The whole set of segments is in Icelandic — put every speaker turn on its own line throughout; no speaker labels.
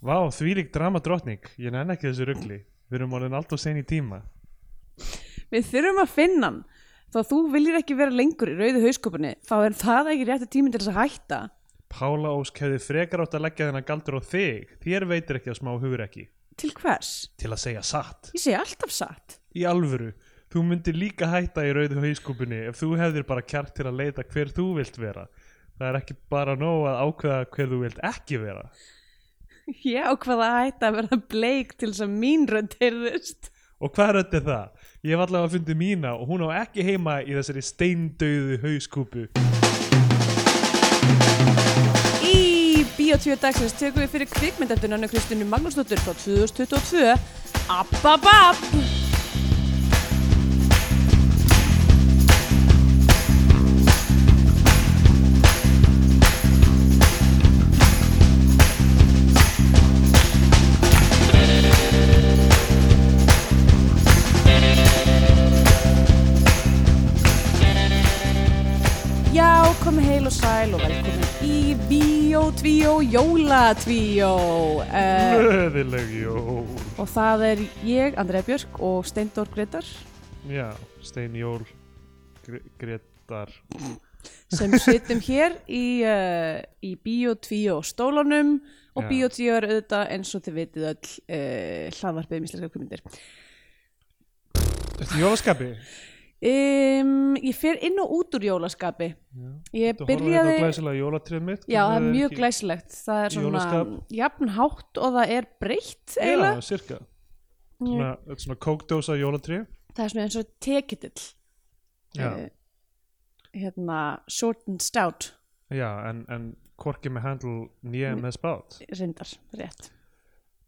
Vá, þvílík dramadrottning, ég nenn ekki þessu ruggli. Við erum orðin allt og sen í tíma.
Við þurfum að finna hann. Þó að þú viljir ekki vera lengur í rauðu hauskopinni, þá er það ekki rétti tími til þess að hætta.
Pála Ósk hefði frekar átt að leggja þennan galdur á þig. Þér veitir ekki að smá hugur ekki.
Til hvers?
Til að segja satt.
Ég segi alltaf satt.
Í alvöru, þú myndir líka hætta í rauðu hauskúpunni ef þú hefðir bara kjark til að leita hver þú vilt vera. Það er ekki bara nóg að ákveða hver þú vilt ekki vera.
Ég ákvað að hætta að vera bleik til þess að mín rödd heyrðist.
Og hvað rödd er það? Ég hef allavega fundið mína og hún á ekki heima í þessari steindauðu hauskúpu.
Í Bíotvíu dagsins tökum við fyrir kvikmyndaftunanu Kristinu Magnúsdóttur frá 2022. Abbababb! Já, komið heil og sæl og velkomin í Bíotvíu Jólatvíu. Uh,
Möðileg, jó.
og það er ég, Andrea Björk og Steindór Gretar
Já, steinjól, gre gretar.
sem sittum hér í, uh, í Bíó 2 stólunum og
Já.
Bíó 2 er auðvitað eins og þið vitið öll uh, hlaðvarpið um íslenska kvimindir.
Þetta er jólaskapi.
Um, ég fer inn og út úr jólaskapi.
Já.
Ég
Þú horfir
byrjaði,
þetta á glæsilega jólatrið mitt.
já það er
hvernig
mjög
ekki-
glæsilegt, það er svona
Jólaskap.
jafnhátt og það er breytt eiginlega. Mm,
Já, cirka. Svona, þetta er svona kókdósa jólatrið.
Það er svona eins og tekitill,
Já,
Eh, hérna short and stout
já en, en hvorki með handl nýja
Mm.
með spát.
reyndar, rétt.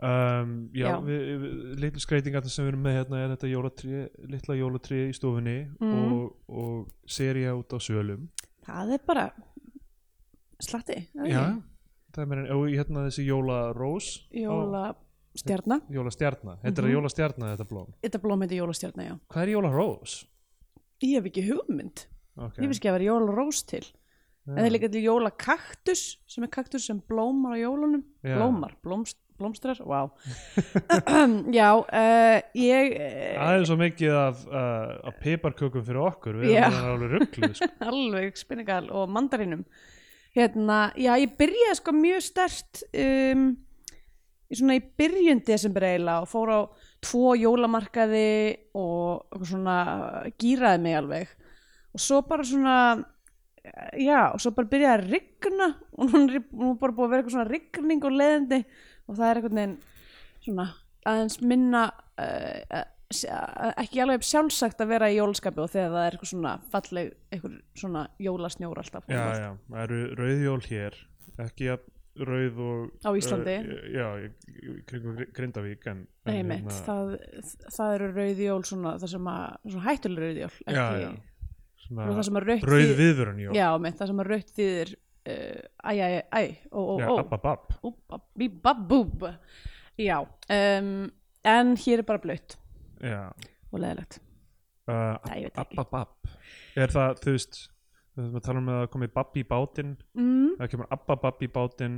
Um, já,
Já.
Við, við, litlu skreitingar sem við erum með hérna er þetta jólatrí, litla jólatrí í stofunni
Mm.
og, og seria út á sölum
Það er bara slatti. er það ekki?
það er meira en og hérna þessi jólarós
Jólastjarna.
á- jólastjarna, þetta er
Mhm.
jólastjarna þetta blóm
Þetta blóm heitir jólastjarna, já.
hvað er jólarós?
Ég hef ekki hugmynd.
Okay.
Ég veist ekki að vera jólarós til. En það er líka til jólakaktus, sem er kaktus sem blómar á jólunum.
Já.
Blómar, blómst, blómstrar, vá. já, uh, ég uh,
aðeins svo mikið af, uh, af piparkökum fyrir okkur við
Já.
erum yeah. alveg ruggluð sko.
alveg spinningal og mandarinum. Hérna, já, ég byrjaði sko mjög stert um, í svona í byrjun desember eiginlega og fór á tvo jólamarkaði og eitthvað svona gýraði mig alveg og svo bara svona já, og svo bara byrjaði að rigna og nú er nú er bara búið að vera eitthvað svona rigning og leðandi og það er eitthvað neginn svona aðeins minna uh, ekki alveg sjálfsagt að vera í jólaskapi og þegar það er eitthvað svona falleg eitthvað svona jólasnjór alltaf
já, já, það eru rauðjól hér ekki að rauð og
Á Íslandi.
uh, já, í- í kringum Gr- Grindavík en, en hérna-
Einmitt, það, það eru rauðjól svona, það sem að, svona hættuleg rauðjól ekki,
já, já.
og það
Svona,
sem að rautt
rauð
þýðir-
viðvörun jól
já, mitt, það sem að rautt þýðir uh, æ, æ, æ, æ, ó, ó,
já,
ó
abba, abba.
Ú, bab, bí, bab, búb. já, um, en hér er bara blött
já
og leðilegt
uh,
Nei, ég veit ekki.
Abba Babb Er það, þú veist Við erum að tala um að það komi Babb í bátinn
mm,
Það kemur Abba Babb í bátinn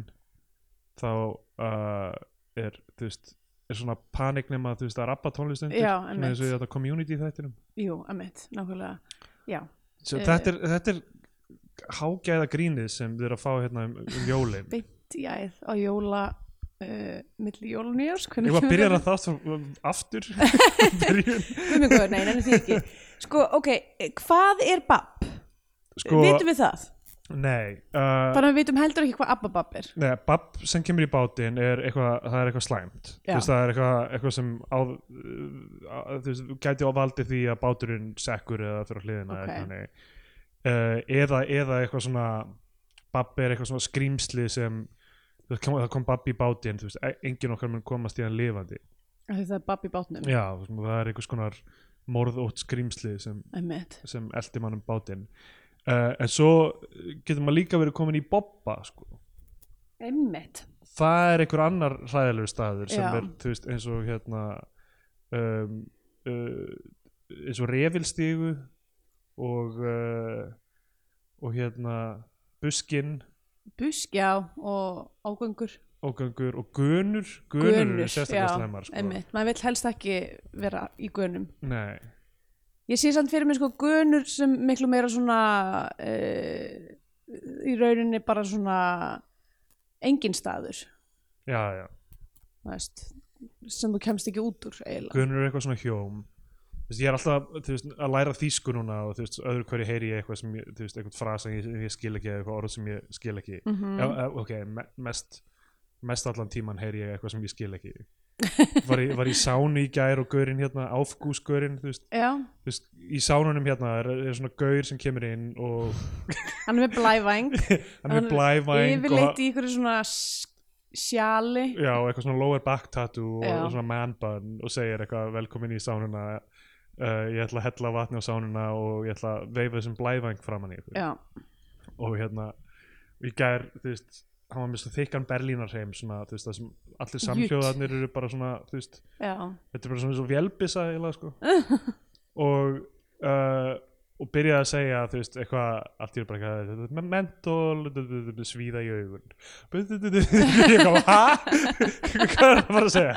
Þá uh, er, þú veist Er svona panik nema, þú veist, það er Abba tónlist undir
Já,
Svona
einmitt.
eins og í þetta community þættinum
jú, emitt, nákvæmlega já,
Svo
Eh.
þetta, er, þetta er hágæða grínið sem þið eru að fá hérna um, um jólin
beint í æð á jóla uh, milli jólun í árs
Ég var að byrja það þá aftur Byrjun
Guðmengur, nei, nei, því ekki sko, ok, hvað er bab?
Sko,
vitum við það?
nei uh,
Þannig að við vitum heldur ekki hvað abbabab er.
Nei, babb sem kemur í bátinn er eitthvað, það er eitthvað slæmt
Já.
Þú veist, það er eitthvað, eitthvað sem á, uh, á, þú veist, gæti ofaldi því að báturinn sekkur eða fyrir hliðina
Ok.
okay. eitthvað, uh, eða, eða eitthvað svona babb er eitthvað svona skrýmsli sem það kom, það kom babb í bátinn þú veist, e- enginn okkar mun komast í hann lifandi
Af því Það er babb í bátnum.
Já, svona, það er eitthvað skonar morðótt skrýmsli sem,
Einmitt.
sem eldi mann um bátinn uh, en svo getur maður líka verið komin í bobba sko
Einmitt.
það er einhver annar hræðilegur staður sem
Já.
er, þú veist, eins og hérna um, uh, eins og refilstígu og uh, og hérna buskinn
Busk, já, og ágöngur.
ógangur og gönur gönur, eru sérstaklega slæmar sko.
einmitt, maður vill helst ekki vera í gönum
Nei,
ég sé samt fyrir mig sko gönur sem miklu meira svona uh, í rauninni bara svona engin staður
já, já
þú veist, sem þú kemst ekki út úr eiginlega
Gunnur er eitthvað svona hjóm Þú veist, ég er alltaf þú veist, að læra þýsku núna og þú veist, öðru hverju heyri ég eitthvað sem ég, þú veist, eitthvað frasa sem ég, sem ég skil ekki eða eitthvað orð sem ég skil ekki
mm
já, eh, ok, me mest mest allan tíman heyri ég eitthvað sem ég skil ekki var, í, var í sánu í gær og gaurinn hérna, áfgúsgaurinn þú veist,
já,
þú veist, í sánunum hérna er, er svona gaur sem kemur inn og
hann er með blævæng
hann er
Hann er
blævæng og
yfirleitt í ykkur svona s- sjali
já, eitthvað svona lower back tattoo og,
Já.
og svona man bun og segir eitthvað velkomin í sánuna uh, ég ætla að hella vatni á sánuna og ég ætla að veifa þessum blævæng framan í ykkur
já,
og hérna í gær, þú veist, hann var með svona þykkan berlínarheim svona, þú veist, það sem allir samhljóðarnir eru bara svona, þú veist
já,
þetta er bara svona eins og vélbissa eiginlega, sko. og uh, og byrjaði að segja þú veist, eitthvað, allt í er bara eitthvað þetta er með mentól, þetta- þetta- þetta- svíða í augun ég kom, hæ? hvað er það bara að segja?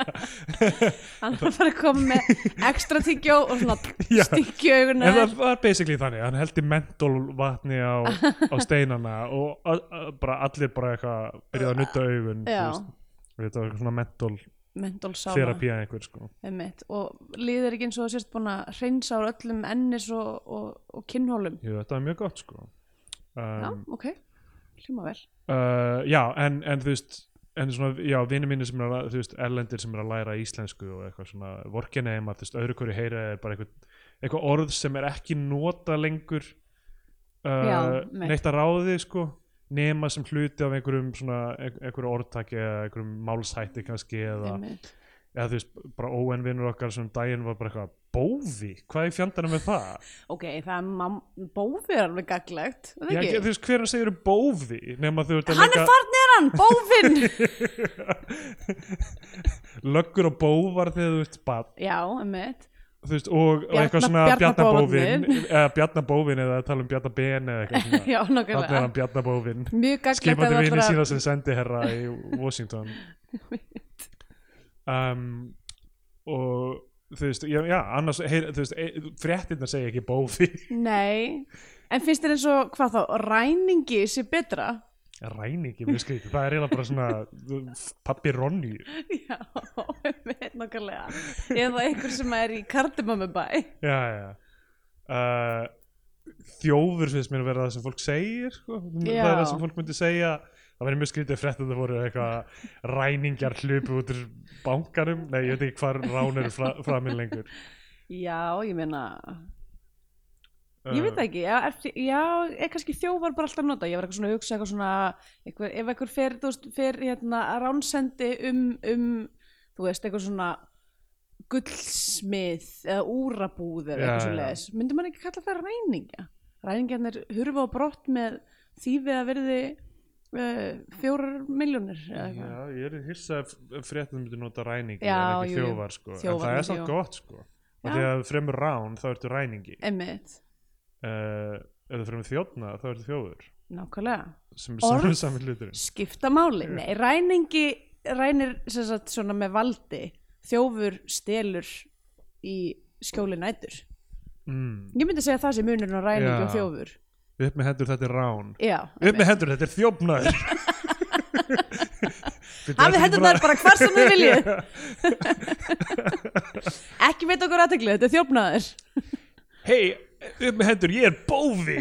hann er bara að koma með ekstra tyggjó og svona
Já.
styggju auguna
en það var basically þannig, hann heldi mentól vatni á, á steinana og a, a, bara allir bara eitthvað byrjaði að nutta augun þú
Já.
veist. Og þetta var eitthvað svona mentól
mentólsána
þerapía einhver sko
Einmitt. og líður ekki eins og þú sérst búin að hreinsa úr öllum ennis og, og, og kinnhólum
Jú, þetta var mjög gott sko
já,
um,
ok, hljóma vel
uh, já, en, en þú veist en svona, já, vinir mínir sem er að þú veist, erlendir sem er að læra íslensku og eitthvað svona vorkenheim að þú veist, öðru hverju heyra er bara eitthvað, eitthvað orð sem er ekki nota lengur uh,
Já, mitt.
neitt að ráði sko nema sem hluti af einhverjum svona, ein- einhverju orðtaki eða einhverjum málshætti kannski eða,
Einmitt.
eða þú veist, bara óenvinur okkar sem um daginn var bara eitthvað, bófi hvað er fjandarinn með það?
ok, það er mam- bófi er alveg gaglegt er það
Já,
ekki?
þú veist, hver að segir um bófi nema þú ert að
hann er farnir hann, bófinn
löggur og bóvar þegar þú ert bad
já, emmitt
þú veist, og, og
Bjarna-
eitthvað svona
Bjarnabófinn.
Bjarnabófin eða Bjarnabófin eða tala um Bjarnaben eða eitthvað svona
já,
þannig er
nákvæmlega
hann Bjarnabófin
mjög gaglegt
skipandi
að
vinni
allra-
sína sem sendi herra í Washington um, og þú veist, já, já annars heyr, þú veist, e- fréttirnar segja ekki bófi
nei, en finnst þér eins og hvað þá, ræningi sé betra
ræningi, mjög skrítið, það er eiginlega bara svona pappi Ronny
já, emmitt, nákvæmlega eða einhver sem er í kardimamubæ
já, já uh, þjófur finnst mér að vera það sem fólk segir sko. það
Já.
er það sem fólk myndi segja það verður mjög skrítið frétt að það voru eitthvað ræningjar hlupu út úr bankanum nei, ég veit ekki hvar rán eru fra, framinn lengur
já, ég meina
Uh,
Ég veit það ekki, já, er, já, er kannski þjófar bara alltaf að nota, ég var eitthvað svona að hugsa eitthvað svona, eitthvað, ef eitthvað fer, þú veist, fer hérna að ránsendi um, um, þú veist, eitthvað svona gullsmið eða úrabúð eða
Já,
eitthvað
já.
svona leðis, myndi man ekki kalla það ræningja? Ræningjarnir hurfa á brott með þýfi að verði uh, fjórar miljónir eða
Uh, já,
eitthvað.
ég er hissa ef ef fréttum myndi nota ræningi
Já,
en ekki
jú, jú.
þjófar sko. en
Þjófar,
það
jú.
er samt gott sko.
Já.
af því að ef þú fremur rán þá ertu ræningi uh,
Emmitt,
ef þú fremur þjófna þá ertu þjófur
nákvæmlega.
sem
Orð?
er saman hluturinn
skipta máli
Mm.
Nei, ræningi rænir sem sagt svona með valdi þjófur stelur í skjóli nætur
mm.
ég myndi segja það sem munurinn á ræningi
Já.
og þjófur
upp með hendur þetta er rán
já,
upp með
einmitt.
hendur, þetta er þjófnaður
hafið hendurnar bara hvar sem þið viljið ekki veit okkur aðtegli, þetta er þjófnaður
hei, upp með hendur, ég er bófi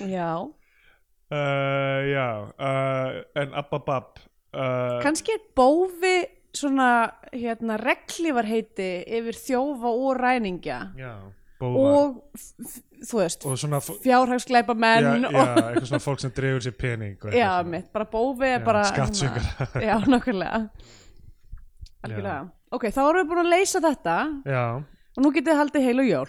já,
uh, já uh, en ababab uh,
kannski er bófi svona hérna reglívar heiti yfir þjófa og ræningja
já, bófa og,
og f- f- þú veist,
svona fó- já,
fjárhagsglæpamenn
já, eitthvað svona fólk sem dreifur sér pening og eitthvað
Já,
svona.
mitt, bara bófi er
Já,
bara
skattsvikarar.
hérna, Já, nákvæmlega Algjörlega Ok, þá erum við búin að leysa þetta
já,
og nú getið þið haldið heil og jól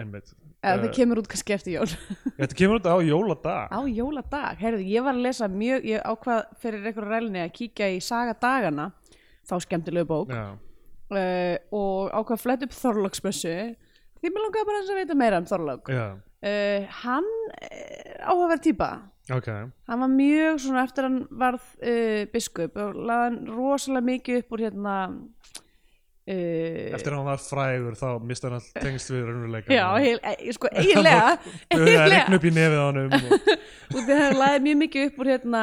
einmitt
eða
Eh,
það kemur út kannski eftir jól
Þetta kemur út á jóladag
Á jóladag, heyrðu, ég var að lesa mjög ég ákvað fyrir einhverju rælni að kíkja í Saga dagana, þá skemmtilegu bók
já,
uh, og ákvað að fletta upp Þorlóksmessu því mér langaði bara aðeins að veita meira um Þorlók
já,
uh, Hann uh, eh, áhugaverð típa
ok,
hann var mjög svona eftir hann varð uh, biskup og laði hann rosalega mikið upp úr hérna eh, uh,
eftir að hann var frægur þá mista hann all tengst við raunveruleika
já, heil, e, sko eiginlega
það Hérna. er
eiginlega
regn upp í nefið á hann og
og þegar hann laði mjög mikið upp úr hérna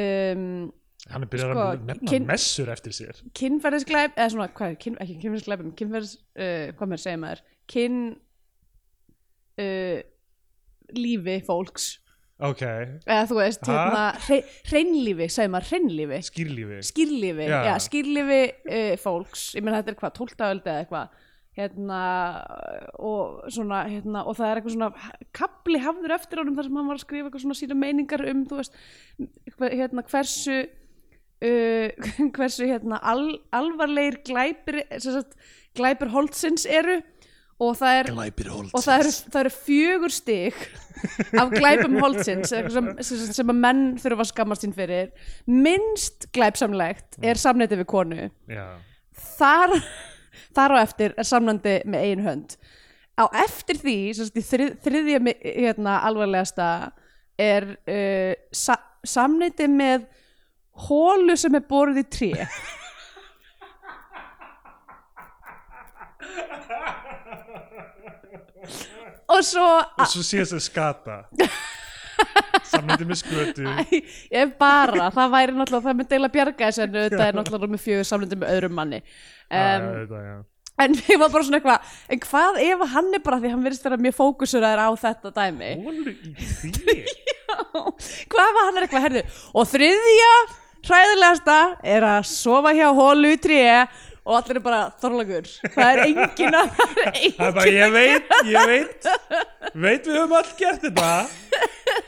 um,
hann er byrjað
Sko,
að nefna
kyn-
messur eftir sér
kynferðisglæp eða svona, hvað er, kyn, ekki kynferðisglæpum kynferðis, uh, hvað maður segja maður kyn uh, lífi fólks
ok,
eða þú veist,
Ha?
hérna hre, hreinlífi, segja maður hreinlífi
skýrlífi
skýrlífi,
Já.
já, skýrlífi uh, fólks, ég meina þetta er hvað, 12. öld eða eitthvað hérna og svona hérna og það er eitthvað svona kapli hafður eftir honum þar sem hann var að skrifa eitthvað svona sína meiningar um þú veist, hve- hérna hversu uh, hversu hérna al, alvarlegir glæpir sem sagt, glæpir holdsins eru og það er
glæpir hold
og það eru, það eru fjögur stig af glæpum holdsins eða eitthvað sem, sem, sem að menn þurfa að skammast sín fyrir minnst glæpsamlegt er samneiti við konu
já,
þar, þar á eftir er samnandi með ein hönd á eftir því sem sagt, í þrið, þriðja mi- hérna, alvarlegasta er uh, sa, samneiti með hólu sem er borið í tré og svo
og svo sé þessi skata samnýtti með skötu
Æ, ef bara, það væri náttúrulega það myndi eiginlega bjarga þessu en auðvitað er náttúrulega með fjögur samlundi með öðrum manni um,
um,
en ég var bara svona eitthvað en hvað ef hann er bara því hann virðist vera mjög fókusuraður á þetta dæmi
hólu í því
hvað ef hann er eitthvað herðu og þriðja hræðilegasta er að sofa hjá hólu í tré og allir er bara þorlagur það er engin að það
það er
er engin
bara ég veit, ég veit veit við höfum all gert þetta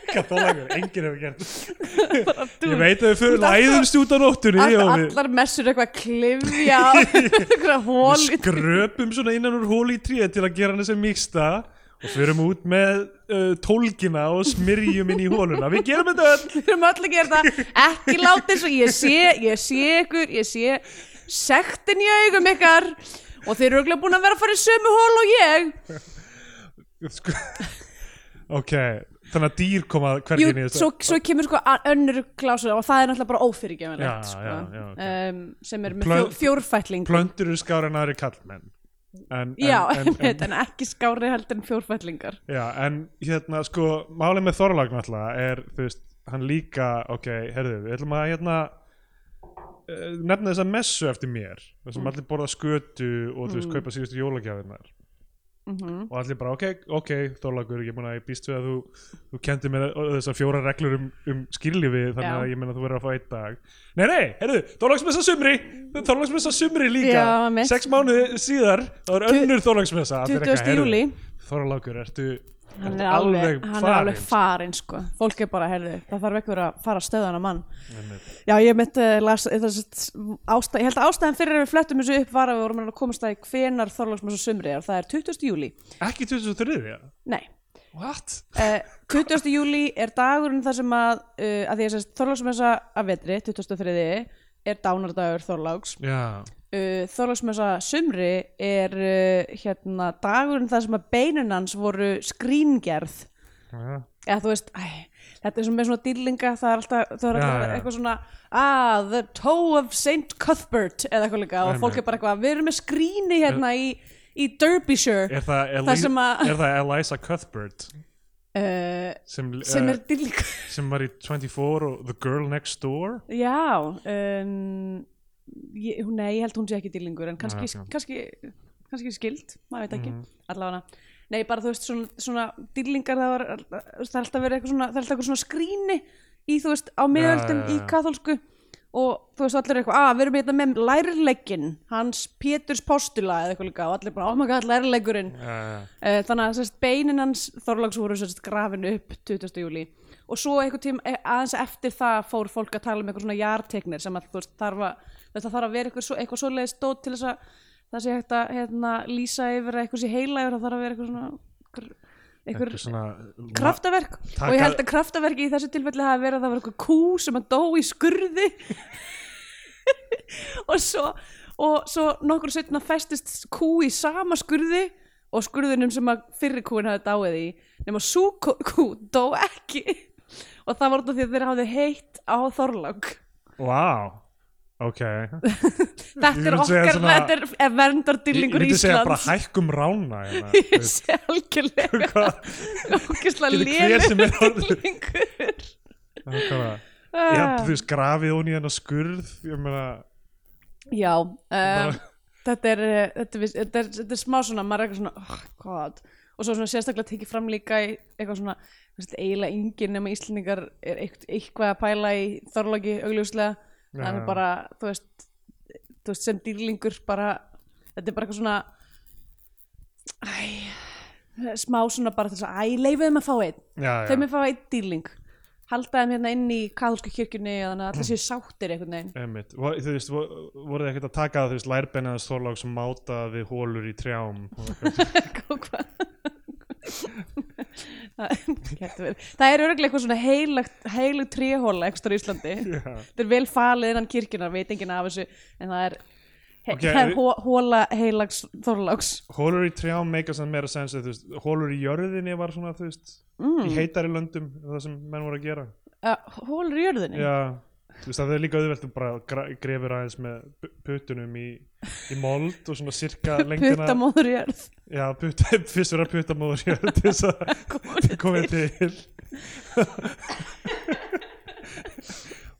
katólagur, enginn hefur gert þetta ég veit að við fyrir læðumst út á nóttunni og við
allar messur eitthvað klifja á einhverja hólu í
við skröpum svona innan úr hóli í tríð til að gera hann sem miksta og förum út með uh, tólkina og smyrjum inn í hóluna við gerum þetta öll
við erum öll að gera það ekki láta eins og ég sé ég sé ykkur, ég sé sektin í augum ykkar og þeir eru örugglega búin að vera að fara í sömu hól og ég
Sko- ok, þannig að dýr koma
Jú,
hvergi niður
svo, svo kemur sko a- önnur klásu og það er náttúrulega bara ófyrirgefanlegt
Já,
sko,
já, já, ok.
um, sem er með
Plön-
fjó, fjórfætling
plöndur eru skár en aðri kallmenn en, en,
já,
en, en,
en, ekki skári heldur en fjórfætlingar
já, en hérna sko málið með Þorlag náttúrulega er þú veist, hann líka, ok, herðu við ætlum að hérna eh, nefna þessa messu eftir mér þessum mm. allir borða skötu og þú veist kaupa síðustu jólagjafinnar
mm -hmm.
og allir bara ok, ok Þorlagur, ég meina ég býst við að þú, þú kendi mér þessar fjóra reglur um, um skýrlífi þannig
Já.
að ég meina þú verður að fá einn dag Nei, nei, heyrðu, Þorlagsmessa sumri Þorlagsmessa sumri líka
Já, mitt.
Sex mánuði síðar, þá er önnur Þorlagsmessa
20. júli
Þorlagur, ertu,
hann
ertu
er alveg, hann er alveg farin sko. fólk er bara, heyrðu, það þarf ekkur að fara að stöðana mann
Einmitt.
Já, ég mitt uh, las, eh, það, sett, ástæð, ég held að ástæðan fyrir að við flettum þessu upp var að við vorum að komast að hvenar Þorlóksmessu sumri er, það er 20. júli
Ekki 2003, já
Nei,
What?
uh, 20. júli er dagurinn þar sem að, uh, að því að Þorlóksmessa að vetri, 23. er dánardagur Þorlóks uh,
Já,
Þorlóksmessa sumri er uh, hérna, dagurinn þar sem að beinunans voru skríngerð
já,
eða þú veist, æ, þetta er svona með svona dýrlinga það er alltaf, það
Já,
er alltaf
já.
eitthvað svona ah, the toe of St. Cuthbert eða eitthvað líka og
Einmitt.
fólk er bara eitthvað við erum með skrýni hérna í, í Derbyshire
er það, Eli
Þar sem að-
er það Eliza Cuthbert
uh,
sem,
sem
eh,
er dýrlinga
sem var í 24 og The Girl Next Door
já um, ég, hún- nei, ég held hún sé ekki dýrlingur en kannski,
Nei, ok. Mhm.
kannski, kannski skild maður veit ekki, allavega nei, bara þú veist, svona, svona dýrlingar það, var, það er alltaf verið eitthvað svona, það er alltaf eitthvað svona skrýni í, þú veist, á miðöldum
já, já.
í katholsku og þú veist allir eitthvað, að við erum hérna með lærileggin hans Péturs postula eða eitthvað líka og allir bara, oh my god, lærileggurinn
Já, já.
Eh, þannig að sérst, beinin hans Þorláks voru sérst, grafin upp 20. júli og svo einhvern tím aðeins eftir það fór fólk að tala um eitthvað svona jartegnir sem að þú veist þarf að þetta þarf að vera eitthvað, svo, eitthvað svoleiðis stótt til þess að það sé hægt að hérna, lýsa yfir að eitthvað sé heila yfir það þarf að vera eitthvað svona einhver- einhver
Þetta er svona
kraftaverk og ég held að kraftaverki í þessu tilfelli hafi verið að það var eitthvað kú sem að dó í skurði og svo og svo nokkur setna festist kú í sama skurði og skurðunum sem að fyrri kúin hafi dáið í nema sú kú, kú dó ekki og og það var þetta því að þeir hafði heitt á Þorlák
Vá, ok Ég
þetta er
myndi segja
okkar,
svona-
þetta er- er verndardýlingur
Ég myndi segja bara
Íslands
hækkum rána hérna.
ég sé algjörlega
Hvað-
okkislega
Getur hver sem er orðið
dýlingur
Hvað-
Ah.
Já, þú veist, grafið hún í hennar skurð Ég meina
já um,
Bara-
þetta er eh, þetta er, viss- þetta er, þetta er smá svona maður er eitthvað svona, oh god og svo svona sérstaklega tekið fram líka í eitthvað svona þú veist, eiginlega enginn nema Íslendingar er eitthvað, eitthvað að pæla í þorlóki augljóslega
Já,
þannig
já.
bara, þú veist, þú veist sem dýrlingur bara, þetta er bara eitthvað svona æ, smá svona bara þess að æ, leifuðum að fá einn
Já, já,
þau mér fá einn dýrling halda þeim hérna inn í katholsku kirkjunni þannig að
Mm.
allir séu sáttir einhvern veginn
einmitt Vo- Þú veist, vo- voruð þið ekkert að taka þú veist, lærbennið hans þorlák sem máta við hólur í trjám
og hvað það gæti verið. Það er örglega eitthvað svona heilagt, heilug tréhóla ekstra í Íslandi
Já.
þetta er vel falið innan kirkjunar, veit enginn af þessu en það er, he,
Ok,
það er
við-
hó, hóla heilags þorláks
Hólur í trjám meika sem meira sens að, þú veist, Hólur í jörðinni var svona þú veist,
Mm.
í heitari löndum það sem menn voru að gera
uh, hólur í jörðinni
Já, þú veist að það er líka auðvelt að bara gra- grefur aðeins með pu- puttunum í, í mold og svona sirka lengdina
puttamóður í jörð
Já, putta, fyrst verður að puttamóður já, til þess að komið til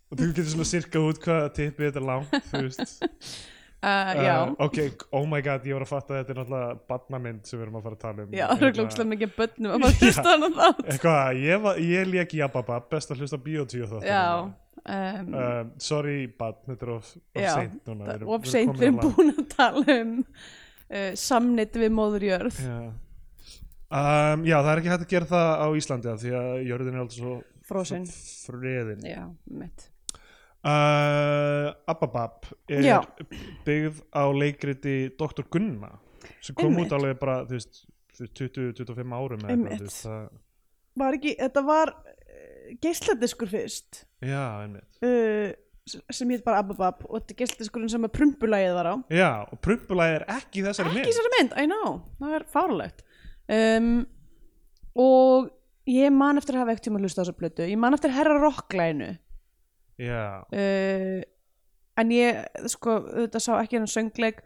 og þú getur svona sirka út hvað tippið þetta er langt þú veist
uh, já,
Uh, ok, oh my god, ég var að fatta að þetta er náttúrulega barnamynd sem við erum að fara að tala um
já,
Hérna-
örglega ókslega mikið af börnum að maður
Já.
hlusta hann á þátt
Eitthvað, ég, var- ég lék í Ababa, best að hlusta á Bíotvíu þáttum
já um,
um, Sorry, barn, þetta er of, of
Já,
seint núna
það-
erum-
of seint
komin
við erum
á lag.
búin að tala um uh, samnit við móður jörð
Já. Um, já, það er ekki hægt að gera það á Íslandi af því að jörðin er alltaf svo
Frosin.
friðin
já, mitt
uh, Ababab er
Já.
byggð á leikriti Dr. Gunna sem kom
Einmitt.
út alveg bara þú veist, 20-25 árum eða eitthvað,
Einmitt.
þú veist, það,
var ekki, þetta var uh, geisladiskur fyrst
Já, einmitt
uh, s- sem hétt bara Ababab og þetta er geisladiskurinn sem að prumpulagið var á
Já, og prumpulagi er ekki í þessari
ekki
mynd
þessari mynd, I know, það er fárlegt um, og ég man eftir að hafa ekkert tíma að hlusta á þessa plötu, ég man eftir herra rocklæinu
Já,
uh, en ég sko, þetta sá ekki hennar söngleik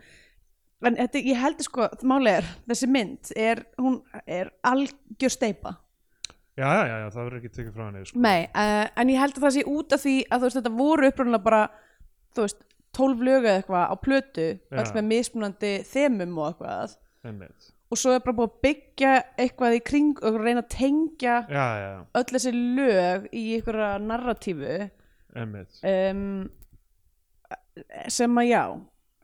en þetta, ég heldur sko máli er, þessi mynd er, hún er algjör steipa
já, já, já, já, það verður ekki tekið frá henni sko.
Nei, uh, en ég held að það sé út af því að þú veist, þetta voru upprunalega bara þú veist, tólf lög eða eitthvað á plötu
Já.
öll með mismunandi þemum og eitthvað
Einmitt
og svo er bara búið að byggja eitthvað í kring og reyna að tengja
Já, já,
öll þessi lög í einhverja narratífu
einmitt
um, sem að já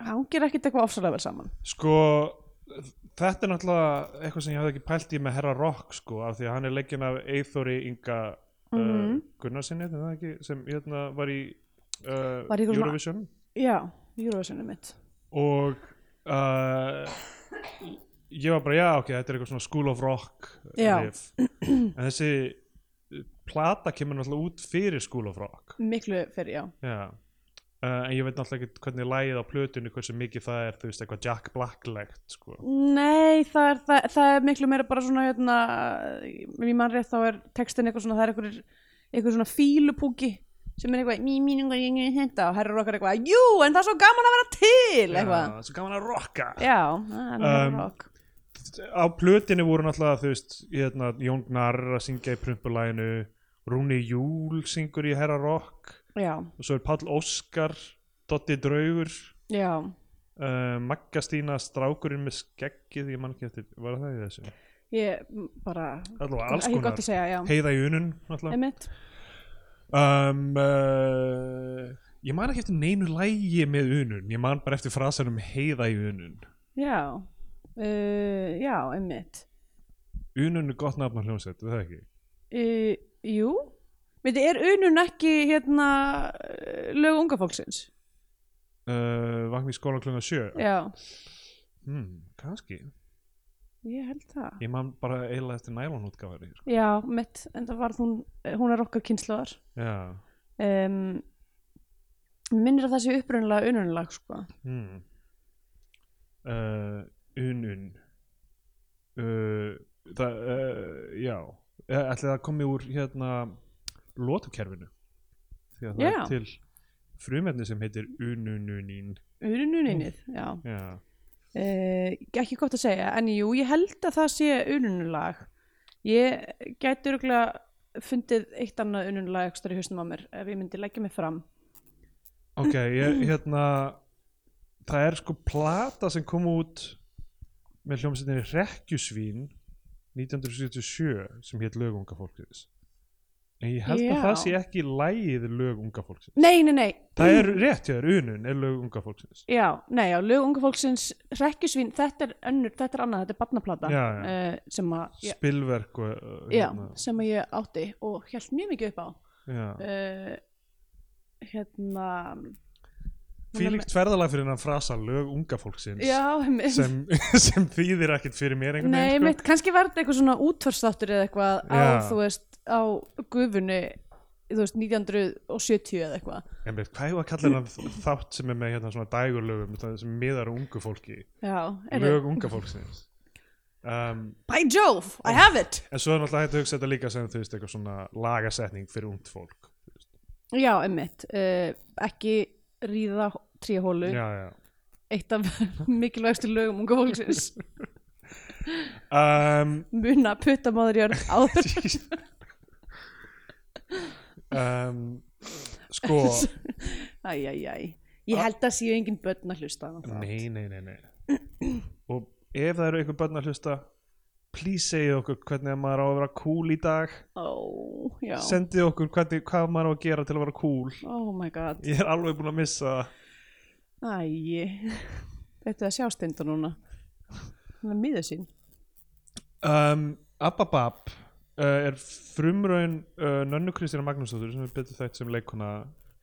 hangir ekkert eitthvað ofsalega vel saman
Sko, þetta er náttúrulega eitthvað sem ég hafði ekki pælt í með Herra Rock sko, af því að hann er leggin af Eithori Inga mm
Mhm.
uh, Gunnarsinni er það ekki, sem hérna var í uh,
Var í eitthvað svona-
Eurovision
já, Eurovision er mitt
og uh, ég var bara, já ok, þetta er eitthvað svona School of Rock
Já.
riff. en þessi uh, plata kemur náttúrulega út fyrir School of Rock
miklu fyrir já
Já Uh, en ég veit náttúrulega ekki hvernig lagið á plötunni hversu mikið það er, þú veist, eitthvað Jack Black-legt sko.
Nei, það er, það, það er miklu meira bara svona hérna, ef ég mann rétt þá er textin eitthvað svona, það er eitthvað, eitthvað svona fílupúki sem er eitthvað mí, mí, mí, mí, mí, þetta hérna," og herrar okkar eitthvað, jú, en það er svo gaman að vera til eitthvað,
Já, svo gaman að rocka
já, það er
Um,
herrar okk
á plötinni voru náttúrulega þú veist, hérna, Jón Gnarr að syngja í prumpulæginu Rúni Júl syngur í Herra Rock
já,
og svo er Páll Óskar Dotti Draugur
já,
uh, Magga Stína Strákurinn með skeggið, ég man ekki eftir var það í þessu,
ég m, bara
allavega alls
ekki gott
konar
að segja, já,
Heiða í unun náttúrulega
einmitt
um, uh, ég man ekki eftir neinu lægi með unun, ég man bara eftir frasanum Heiða í unun
já, uh, já, einmitt
unun er gott nafn á hljómsveit, er það ekki?
uh, jú, veitir, er unun ekki hérna eh, lög unga fólksins,
Uh, Vagn í skólan klunga sjö
já
hmm, kannski
Ég held það.
Ég man bara eiginlega eftir nælonútgáfari sko.
Já, mitt, en það var hún, hún er okkar kynnslóðar.
Já
Um, minnir að það sé upprunalega ununulag, sko.
hmm. uh, Unun Eh, uh, Það, uh, já Ætli það komi úr hérna lótukerfinu því að það
Já.
er til frumefni sem heitir unununín
urununinið,
Mm.
já
já,
uh, ekki gott að segja, en jú, ég held að það sé urunulag ég gæti örgulega fundið eitt annað urunulag ekstra í hausnum á mér ef ég myndi leggja mig fram
ok, ég, hérna það er sko plata sem kom út með hljómsveitinni Rekkjusvín 1977 sem hétt lög unga fólksins en ég held
Já.
að það sé ekki lægið lög unga fólksins
nei, nei, nei,
það er rétt hjá þér, unun er lög unga fólksins
Já, nei, já, lög unga fólksins Rekkjusvín, þetta er önnur, þetta er annað Þetta er barnaplata
Já, já.
eh, sem, að, já,
spilverk og, uh,
já,
hérna,
sem að ég átti og held mjög mikið upp á
já.
uh, Hérna
Fílíkt ferðalag fyrir hennan frasa lög unga fólksins
Já, einmitt.
sem, sem þýðir ekkert fyrir mér einhvern
Nei,
veginn sko.
mitt, kannski var þetta eitthvað svona útvarsþáttur eða eitthvað á,
Já.
þú veist, á gufunni þú veist, 1970 eða eitthvað
sko. En veit, hvað hefur að kalla hennan þátt sem er með hérna svona dægurlögum það sem miðar á ungu fólki
Já, er
lög unga fólksins um,
By Jove, I have it
En svo er náttúrulega hægt að hugsa þetta líka sem þú veist eitthvað svona lagasetning fyrir ungt fólk
Já, einmitt, uh, ekki ríða tríahólu
Já, já
eitt af mikilvægstu lögum unga fólksins
um,
muna putta móður jörð áður
um, Sko
æjæjæj ég held að séu engin börn að hlusta á það.
Nei, nei, nei, nei Og ef það eru einhver börn að hlusta Please segja okkur hvernig að maður á að vera cool í dag
ó, já
sendið okkur hvernig, hvað maður á að gera til að vera cool
oh my god,
ég er alveg búin að missa það.
æj þetta er sjástindu núna hann er miður sín
um, Ababab uh, er frumraun uh, Nönnu Kristina Magnúsdóttur sem er betur þekkt sem leikuna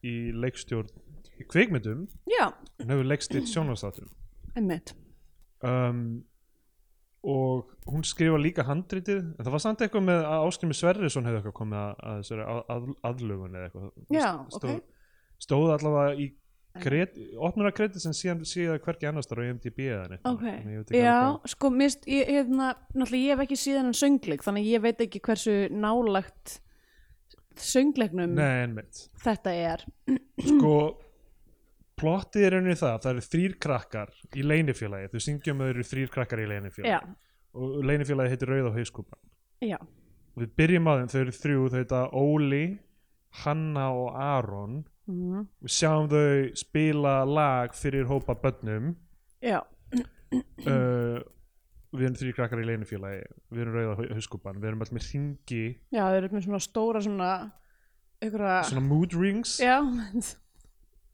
í leikstjórn í kvikmyndum
já,
hún hefur leikstýrt sjónvarsþáttum
einmitt
um, og hún skrifa líka handritið en það var samt eitthvað með að Áskrimur Sverrisson hefði eitthvað komið að, að þessari að, að, aðlugun eða eitthvað Hún
Já,
st- stóð, stóð allavega í kred, opnur að kredið sem síðan síðan hvergi annars þar á E IMDb eða neitt
ok,
Þannig ég veit ekki
já,
alveg
sko mist, ég, hérna, náttúrulega ég hef ekki síðan en söngleik þannig að ég veit ekki hversu nálagt
hvað-
söngleiknum
Nei, einmitt
þetta er
sko plottið er einu það, það eru þrýr krakkar í leinifélagi, þau syngjum að þau eru þrýr krakkar í leinifélagi
já,
og leinifélagi heitir Rauð á hauskúpan
já,
og við byrjum á þeim, þau eru þrjú, þau heita Óli Hanna og Aron
Mhm.
við sjáum þau spila lag fyrir hópa bönnum
já Mhm.
uh, við erum þrýr krakkar í leinifélagi við erum Rauð á hauskúpan, við erum alltaf með hringi
Já, þeir eru með svona stóra svona einhverja,
svona mood rings
Ah. já,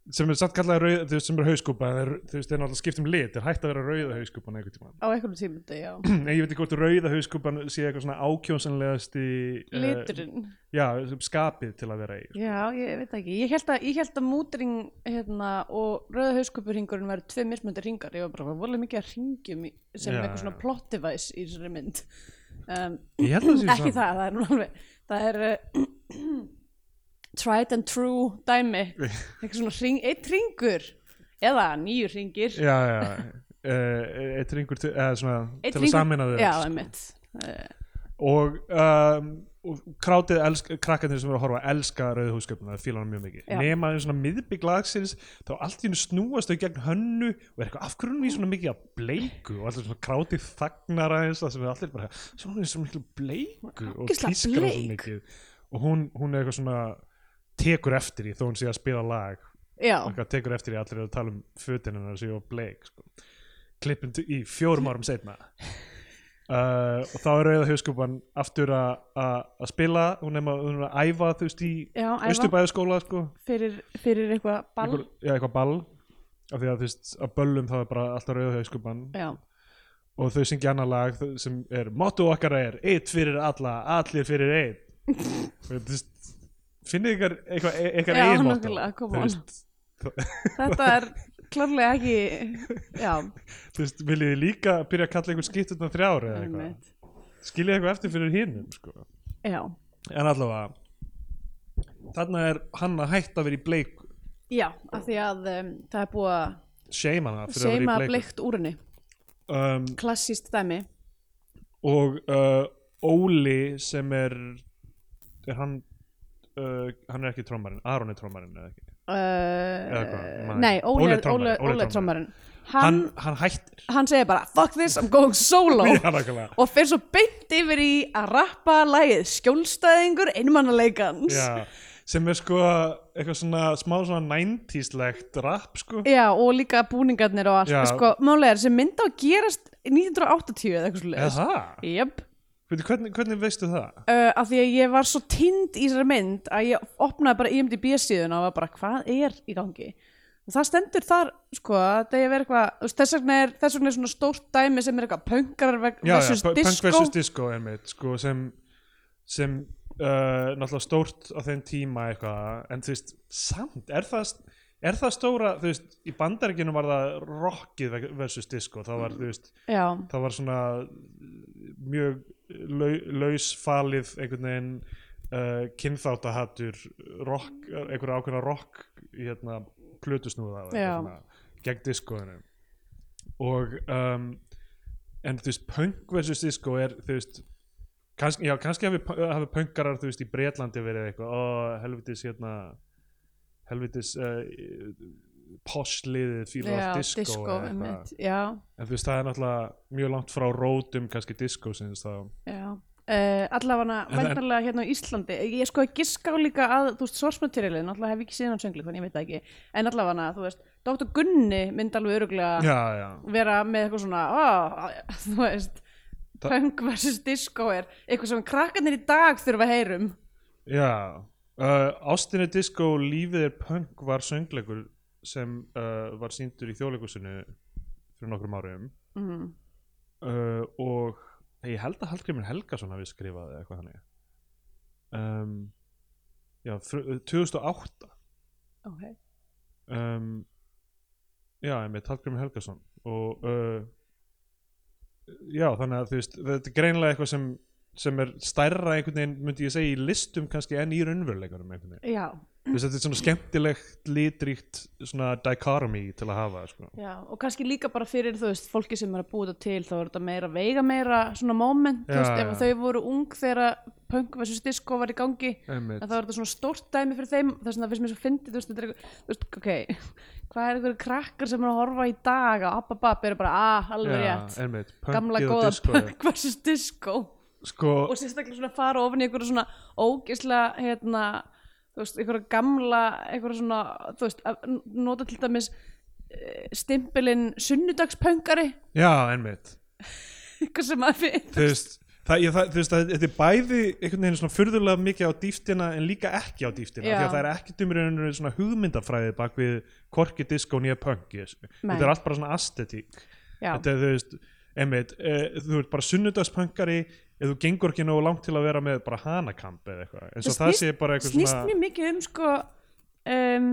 sem er samt kallað rauð, þú veist, sem er hauskúpa en það er- þú veist, það er náttúrulega skipt um lit, það er hægt að vera rauða hauskúpan einhvern tímann
á einhverjum tímundi, já
en ég veit ekki hvort rauða hauskúpan sé eitthvað svona ákjónsanlegast í
liturinn,
já, skapið til að vera í sko.
já, ég veit ekki ég held að, ég held að mútring hérna, og rauða hauskupurringurinn væri tvei mismöndir ringar, ég var bara volið mikið að ringjum sem
Já,
eitthvað svona
já.
plot device í þessari mynd um,
ég held að
ekki það, það er nú alveg það er uh, tried and true dæmi eitthvað svona ring, eitt ringur eða nýju ringir
já, já, uh, eitt ringur til, eða svona,
Einn
til að
hringur-
samina þau
já,
öll,
einmitt uh,
sko. og, um, og krátið elsk, krakkarnir sem eru að horfa elska rauða hauskúpuna, það fíla hann mjög mikið
Já.
nema í svona miðbygg lagsins þá allt í hennu snúast þau gegn hönnu og er eitthvað af hverjum í svona mikið að bleiku og alltaf svona krátið þagnar aðeins það sem er allir bara, svona er svona miklu bleiku og
Ógeðslega
tískar það svo
bleik.
mikið og hún, hún er eitthvað svona tekur eftir í þó hún sé að spila lag
já,
eitthvað tekur eftir í allir eru að tala um fötin hennar sem ég var bleik sko. klippum til- í fjórum árum setna uh, og þá er auðvitað hauskúpan aftur að- að að spila hún er að, hún er að æfa þú veist í
Já, æfa.
austurbæðaskóla sko,
fyrir, fyrir eitthvað ball
Einhver, já, eitthvað ball af því að þú veist að böllum þá er bara alltaf auðvitað hauskúpan
já,
og þau syngja annar lag þau- sem er motto okkar er eitt fyrir alla, allir fyrir einn og þú veist finnið ykkar eitthvað eitthvað
Já,
eigin motto
nákvæmlega, come
Þú
on.
veist,
þetta er klárlega ekki já,
þú veist, viljið þið líka byrja að kalla einhver skipt utan þrjár eða eitthvað
einmitt
skiljið eitthvað eftir fyrir hinnum sko.
já,
en allavega þarna er hann að hætta að vera í bleik
já, af því að um, það er búið að
shame hana fyrir
seima
að vera í bleik
bleikt úr henni
um,
klassíst dæmi,
og uh, Óli sem er er hann uh, hann er ekki trommarinn, Aron er trommarinn eða ekki
uh,
hvað,
nei,
Óli
Óli er
er trommari, Óli
Óli-
er
Óli er trommarinn
hann,
hann,
hann hættir
hann segir bara fuck this, I'm going solo
Já, nákvæmlega.
og fer svo beint yfir í að rappa lagið skjólstæðingur einmannaleikans
Já, sem er sko eitthvað svona smá svona 90s-legt rap sko
Já, og líka búningarnir og allt
Já.
sko, málega er sem mynda að gerast 1980 eða eitthvað
eða
svo leiðis
það,
Jöp,
Veitu, hvernig, hvernig veistu það?
uh, af því að ég var svo tind í þessari mynd að ég opnaði bara IMDb síðuna og var bara hvað er í gangi og það stendur þar sko að það er verið eitthvað, þú veist, þess vegna er þess vegna er svona stórt dæmi sem er eitthvað pöngar
Já, já,
versus
pu- punk
disco
versus disco einmitt, sko, sem, sem uh, náttúrulega stórt á þeim tíma eitthvað, en þú veist, samt er það, er það stóra, þú veist í bandaríkinu var það rockið veg- versus disco, það var, þú veist
Já,
það var svona uh, mjög lau- lausfalið einhvern veginn uh, kynþáttahattur rock, einhverja ákveðna rock hérna plötusnúða eða
Já.
eitthvað svona, gegn diskoðinu og um, en þú veist punk versus disco er þú veist kannski, já, kannski hafi, hafi punkarar þú veist í Bretlandi verið eitthvað ó helvitis hérna helvitis uh, posliðið fílar
já,
allt disco,
disco
eða eitthvað
einmitt, já
en þú veist það er náttúrulega mjög langt frá rótum kannski diskósins þá
Já, uh, allavega
En- en-
væntanlega hérna á Íslandi ég sko að giska á líka að, þú veist, sourcematerialin allavega hef ég ekki síðan söngli, þannig ég veit það ekki en allavega, þú veist, Dr. Gunni myndi alveg öruglega
já, já,
vera með eitthvað svona oh, þú veist,
Þa-
punk versus disco er eitthvað sem krakkarnir í dag þurfa að um." heyrum
já. Uh, Ástinni diskó lífið er punk var söngleikur sem uh, var sýndur í þjóðleikusinu fyrir nokkrum árum
mm.
uh, og ég held að Hallgrimur Helgason hafi skrifað eða eitthvað þannig um, já, fr- uh, 2008
okay.
um, já, einmitt Hallgrimur Helgason og uh, já, þannig að þú veist þetta er greinlega eitthvað sem, sem er stærra einhvern veginn, myndi ég segja, í listum kannski en í raunveruleikunum einhvern veginn
Já,
þú veist, þetta er svona skemmtilegt, litríkt svona dichotomy til að hafa sko.
já, og kannski líka bara fyrir þú veist, fólki sem er að búa þetta til þá er þetta meira veiga meira svona moment þú
Já,
veist, ef
já.
þau voru ung þegar punk versus disco var í gangi
einmitt,
en það var þetta svona stórt dæmi fyrir þeim þess að það finnst mér svo fyndið, þú veist, þetta er eitthvað þú veist, ok, hvað er einhverju krakkar sem er að horfa í dag að abba bab eru bara ah, alveg rétt,
einmitt,
gamla
punkið og
góða
discoið.
punk versus disco
sko,
og sérstaklega svona fara ofin í einhverju svona ógisla, hérna þú veist, einhverju gamla, einhverju svona þú veist, að n- nota til dæmis eh, stimpilinn sunnudagspöngari
já, einmitt
eitthvað sem að við
þú veist Það, ég, það, þú veist, það, þetta er bæði einhvern veginn svona furðulega mikið á dýftina en líka ekki á dýftina
Já.
því að það er ekki dumurinn svona hugmyndafræði bak við korki diskó nýja punk í þessu.
Nei.
þetta er allt bara svona aesthetík
já,
þetta er þú veist, einmitt e, þú ert bara sunnudagspunkari ef þú gengur ekki nógu langt til að vera með bara hanakamp eða eitthvað, eins og
Það
það
snýst-
sé bara eitthvað
snýst
svona
mjög mikið um sko um,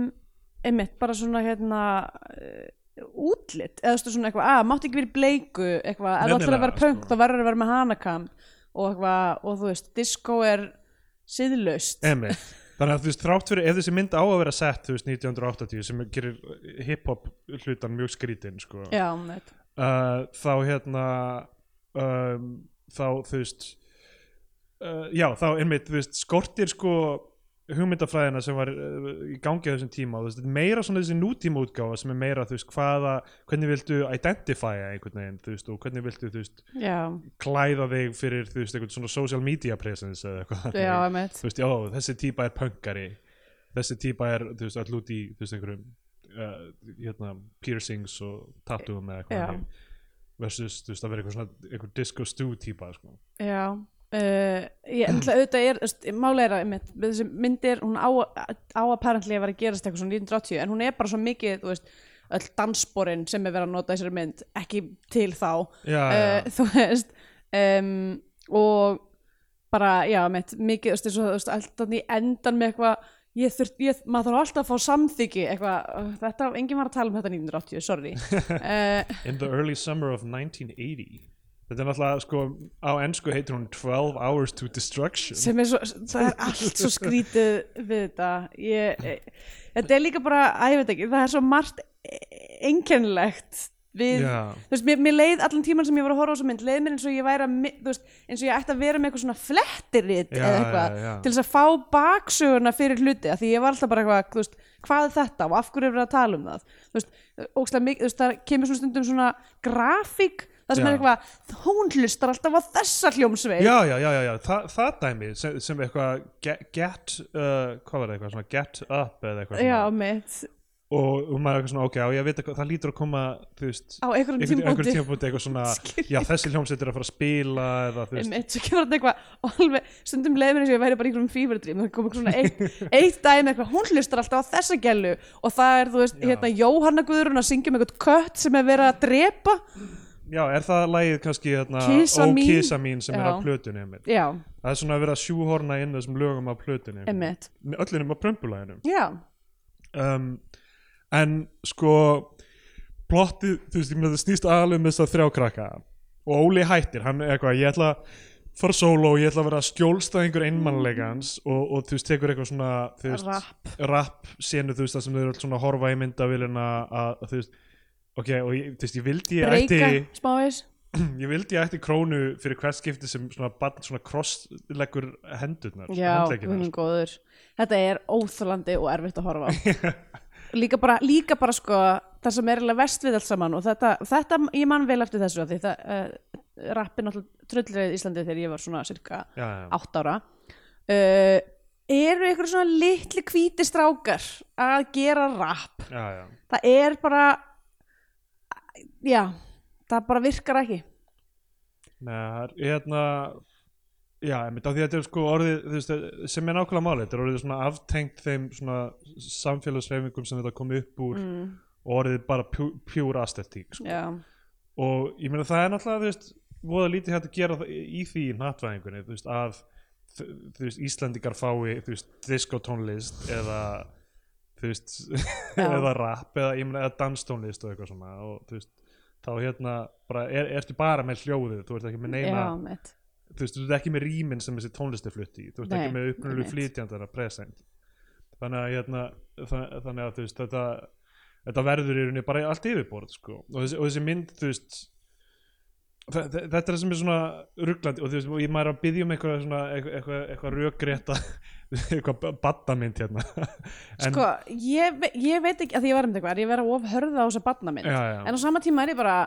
einmitt bara svona hérna uh, útlit eða stu svona eitthvað, að mátti ekki verið bleiku eitthvað, ef þú ætlar að
Nefnilega,
vera punk
sko.
þá verður að vera með hanakam og eitthvað, og þú veist, disco er síðlaust
Einmitt. Þannig að þú veist, þrátt fyrir, ef þessi mynd á að vera sett, þú veist, 1980 sem gerir hip-hop hlutan mjög skrítinn, sko.
já, einmitt,
uh, þá hérna um, þá þú veist uh, já þá einmitt þú veist skortir sko hugmyndafræðina sem var uh, í gangi á þessum tíma þú veist, þetta er meira svona þessi nútíma útgáfa sem er meira þú veist hvaða, hvernig viltu identifya einhvern veginn þú veist og hvernig viltu þú veist
já,
klæða þig fyrir þú veist einhvern svona social media presence eða eitthvað
já, einmitt
þú veist, já, þessi típa er punkari þessi típa er, þú veist, all út í þú veist, einhverjum uh, hérna, piercings og tattooum eða
Já.
eitthvað þannig. versus, þú veist, að vera eitthvað svona einhver disco stew típa, sko
Já Uh, ég ætla auðvitað er þú veist, máli er að einmitt, með þessi myndir hún á, á apparently að vera að gerast eitthvað svona 1980 en hún er bara svo mikið þú veist, öll danssporin sem er verið að nota í þessari mynd ekki til þá
Já,
uh, þú veist um, og bara já, mitt, mikið, þú veist, eins og, þú veist, alltaf í endan með eitthvað ég þurft, ég, maður þarf alltaf að fá samþyggi eitthvað, uh, þetta, enginn var að tala um þetta 1980 sorry uh,
In the early summer of 1980 Þetta er náttúrulega, sko, á ennsku heitir hún 12 hours to destruction
sem er svo, það er allt svo skrítið við þetta ég, eh, þetta er líka bara, að ég veit ekki það er svo margt einkennilegt við,
Já.
þú veist, mér, mér leið allan tíman sem ég var að horfa á þessu mynd, leið mér eins og ég væri að, mi- þú veist, eins og ég ætti að vera með eitthvað svona flettirrit
Já,
eða eitthvað,
já, já.
til þess að fá baksöguna fyrir hluti, af því ég var alltaf bara eitthvað, þú veist, hvað er þetta og af hverju er verið að tala um það, þú veist, ógstlega mikið, þú veist, það kemur svona stundum svona grafík, það sem
Já.
er eitthvað, hún hlustar alltaf á þessa hljómsveit,
Já, já, já, já, já. Þa, það dæmi sem, sem eitthvað get, get uh, hvað var það eitthvað, svona get up eða eitthvað
já
svona.
mitt,
og, og maður er eitthvað svona, ok, á ég að vita hvað það lítur að koma, þú veist
á einhverjum
einhvern einhver
tímpúti.
tímabúti eitthvað svona já, þessi hljómsveit er að fara að spila eða þú veist,
einmitt, svo kemur þetta eitthvað og alveg, stundum leið mér eins og ég væri bara í einhverjum fýverdrým það kom eitthvað svona eitt, eitt dæmi eitthvað, hún hlustar alltaf á þessa gælu og það er, þú veist,
Já.
hérna Jóhanna Guðrún að syngja um eitthvað kött sem er verið að drepa
já, er það lagið kannski hérna,
Kisa
Ó,
mín?
kisa mín sem er
Já.
á plötunni einmitt.
já,
það er svona að vera að sjúhorna inn þessum lögum á plötunni
einmitt,
öllunum á prömpulæðinum
já
um, en sko plottið, þú veist, ég meina það snýst aðalega um þess að þrjá krakka og Óli hættir, hann er eitthvað, ég ætla að fara sóló, ég ætla að vera skjólstæðingur einmannlegans og, og þú veist, tekur eitthvað svona þú veist,
Rapp.
rapp senu, þú veist, það sem þau eru öll svona að horfa í myndavélina að, þú veist, ok, og ég, þú veist, ég vildi ég
breyka,
ætti
smávegis
ég vildi ég ætti krónu fyrir hvert skipti sem svona barn svona krossleggur hendurnar
já,
handleggirnar. sko.
hún góður þetta er óþalandi og erfitt að horfa á líka bara, líka bara sko það sem er eiginlega vest við allt saman og þetta, þetta ég man vel eftir þessu af því það uh, rappi náttúrulega tröllreið Íslandi þegar ég var svona cirka
já, já.
átt ára uh, eru einhverjum svona litli hvíti strákar að gera rap
já, já.
það er bara já, það bara virkar ekki
Nei, það er- hérna já, einmitt, af því að þetta er sko orðið þú veist, sem er nákvæmlega máli, þetta er orðið svona aftengt þeim svona samfélagsreifingum sem þetta kom upp úr
mm,
og orðið bara pjú, pjúra astetík sko.
já,
og ég meina það er náttúrulega þú veist, voða lítið hægt að gera það í því í nattvæðingunni, þú veist, að þ- þú veist, Íslandingar fái, þú veist, diskotónlist eða þú veist,
Já.
eða rap eða, ég meina, eða danstónlist og eitthvað svona og þú veist, þá hérna bara, er, ertu bara með hljóðið, þú ert ekki með neina
já, mitt
þú veist, þú ert ekki með rýmin sem þessi tónlist er flutt í, þú ert
Nei,
ekki með upprunalegu
einmitt.
flytjandana present þannig að, hérna, það, þannig að þú veist, þetta, þetta verður í rauninni bara allt yfirborð sko. og, þessi, og þessi mynd þú veist þa- þa- þetta er það sem er svona rugglandi og þú veist, og ég maður er að byggja um eitthvað svona, eitthvað, eitthvað, eitthvað rökrétta eitthvað badamynd hérna en,
sko, ég, ve- ég veit ekki að því ég var um eitthvað, er ég verið of hörða á þessa badnamynd
já, já,
en á sama tíma er ég bara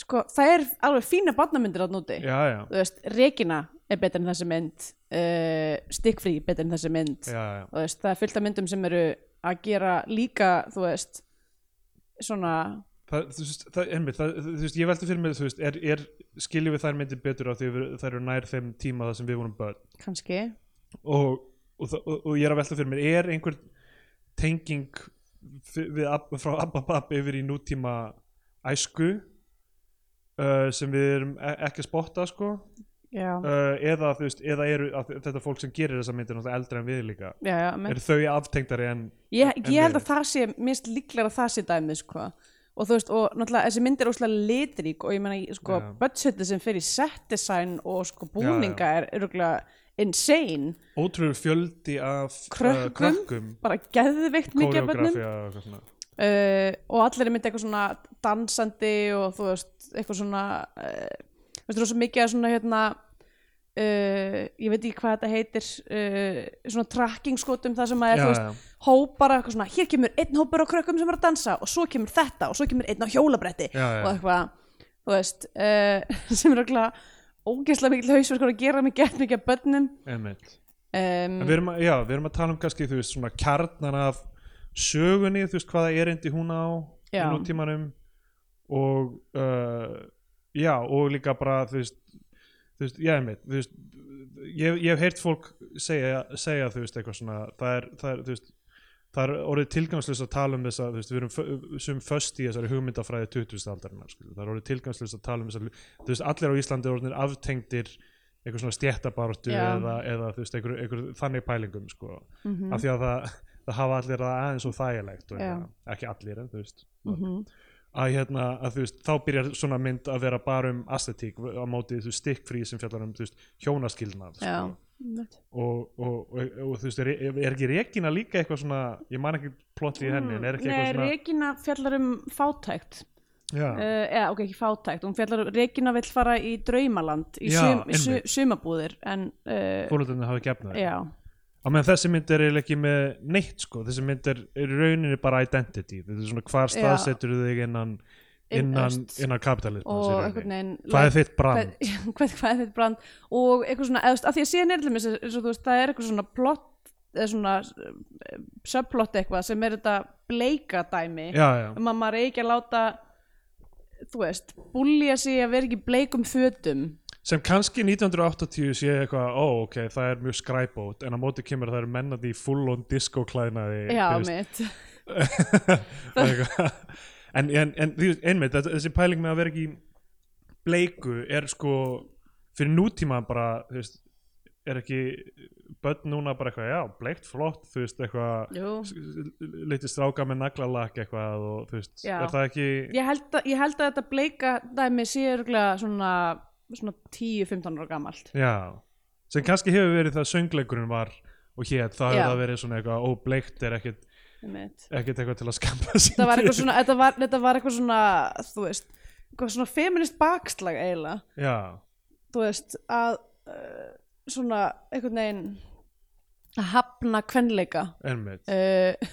sko, það er alveg fína badnamyndir að núti
já, já,
þú veist, Regina er betur en þessi mynd uh, Stickfree betur en þessi mynd
já, já.
og þú veist, það er fullt af myndum sem eru að gera líka, þú veist svona
Það, þú veist, það, einmitt, það, þú veist, ég velti fyrir mig, þú veist, er, er skiljum við þær myndir betur á því við- þær eru nær þeim tíma það sem við vorum börn
kannski,
og, og, það- og, og ég er að velta fyrir mér er einhver tenging fi- við, Ab- frá Ababab yfir í nútíma æsku uh, sem við erum e- ekki að spotta sko uh,
já
eða, þú veist, eða eru að, þetta fólk sem gerir þessa myndir náttúrulega eldra en við líka
já, já, menn,
eru þau aftengdari en
ég,
en
ég held
við-
að það sé mist líklega að það sé dæmið sko. og þú veist, og náttúrulega þessi mynd er óslega litrík og ég meina, ég- sko,
Já.
budgetið sem fer í set design og sko
já.
búninga er örgulega insane,
ótrúður fjöldi af uh,
Krökkum?
krökkum
bara geðveikt mikið af bönnum
kóreografía og eitthvað svona
uh, og allir er myndið eitthvað svona dansandi og þú veist eitthvað svona uh, veist þú svo mikið að svona hérna uh, ég veit ekki hvað þetta heitir uh, svona tracking skotum það sem að er
Já,
þú veist
já.
hópar af eitthvað svona hér kemur einn hópur á krökkum sem er að dansa og svo kemur þetta og svo kemur einn á hjólabretti
Já, já.
og eitthvað þú veist uh, sem er okkur ógeðslega mikil hausverkur að gera mig gett mikið að börnum
einmitt
um,
En Við erum, að, já, við erum að tala um kannski þú veist, svona kjarnan af sögunni þú veist hvaða erindi hún á í
Já.
nútímanum og uh, já og líka bara þú veist, þú veist, já, einmitt, þú veist ég, ég hef heyrt fólk segja, segja þú veist eitthvað svona það er, það er, þú veist, það er orðið tilgangslust að tala um þess að veist, við erum fö- sum föst í þessari hugmyndafræði 20. aldarinnar skilur. það er orðið tilgangslust að tala um þess að þú veist allir á Íslandi eru orðnir aftengdir eitthvað svona stjættabartu
Já.
eða, eða þú veist einhver, einhver þannig pælingum sko
Mhm.
af því að það, það hafa allir það aðeins og þægilegt og
Já.
hérna, ekki allir en þú veist
Mhm.
að hérna að þú veist þá byrjar svona mynd að vera bara um aesthetík á móti þú veist stikkfrí sem fjallar um þú veist hjónaskilnað
já,
sko. og, og, og, og þú veist er, er ekki Regina líka eitthvað svona ég man ekki plotti í henni en er ekki
Mm, Nei,
eitthvað svona
Regina fjallar um fátækt
já,
uh, eða ok, ekki fátækt hún fjallar, Regina vill fara í draumaland í,
Já,
sum, í su,
einmitt.
sumabúðir en, uh,
fórhaldinu hafa gefnað
já,
á meðan þessi mynd er eiginlega ekki með neitt sko, þessi mynd er er í rauninni bara identity, þetta er svona hvar
Já.
staðsetur þig innan
Inn-
innan,
öst.
innan kapitalism
og einhvern veginn
hvað er þitt brand?
hvað, hvað, hvað er þetta brand og eitthvað svona, eða, þú veist, af því að síðan er til dæmis, eins og þú veist, það er eitthvað svona plott eða svona eh, subplot eitthvað sem er þetta bleika dæmi
já, já,
um að maður eigi ekki að láta þú veist, búlja sig að vera ekki í bleikum fötum
sem kannski 1980 sé eitthvað, ó ok, það er mjög skræpót en á móti kemur að það eru mennandi í full on disco klæðnaði
já,
þú veist,
mitt
og eitthvað. en, en, en þú veist, einmitt þetta- þessi pæling með að vera ekki í bleiku er sko fyrir nútíma bara þú veist, er ekki börn núna bara eitthvað, já, bleikt flott þú veist, eitthvað
Jú.
litið stráka með naglalakk eitthvað og þú veist,
Já.
er það ekki
ég held, að, ég held að þetta bleika dæmi sé örgulega svona, svona 10-15 ára gamalt
já, sem kannski hefur verið það söngleikurinn var og hér, það
Já.
hefur það verið svona eitthvað, ó, bleikt er ekkit
einmitt.
ekkert eitthvað til að skampa sig
þetta var
fyrir.
eitthvað svona, þetta var, þetta var eitthvað svona þú veist, eitthvað svona feminist bakslag eiginlega,
já,
þú veist að uh, svona einhvern veginn að hafna kvenleika
einmitt
uh,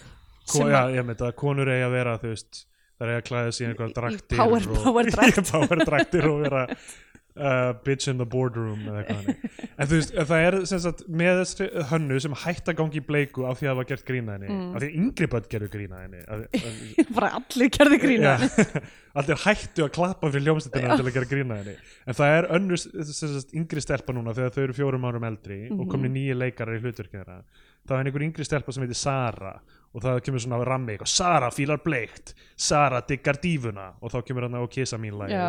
Ko,
sem
já,
að-
ég myndi að konur eiga að vera þú veist, það eiga að klæða sig í einhverja
Í- í
draktir
power-
og,
power
í
drakt.
power draktir og vera uh, bitch in the boardroom eða eitthvað þannig. en þú veist, en það er sem sagt með þessari hönnu sem hætt að gangi í bleiku af því að það var gert grína henni
Mm.
af því að yngri börn gerðu grína henni af, af,
bara allir gerði grína
Já, allir hættu að klappa fyrir hljómsveitina til að gera grína henni en það er önnur s- sem sagt, yngri stelpa núna þegar þau eru fjórum árum eldri
Mhm.
og komin nýju leikarar í hlutverkið þeirra þá er einhver yngri stelpa sem heitir Sara og það kemur svona á rammi eitthvað, Sara fílar bleikt, Sara diggar dífuna og þá kemur hann á kisa mín lagi
já,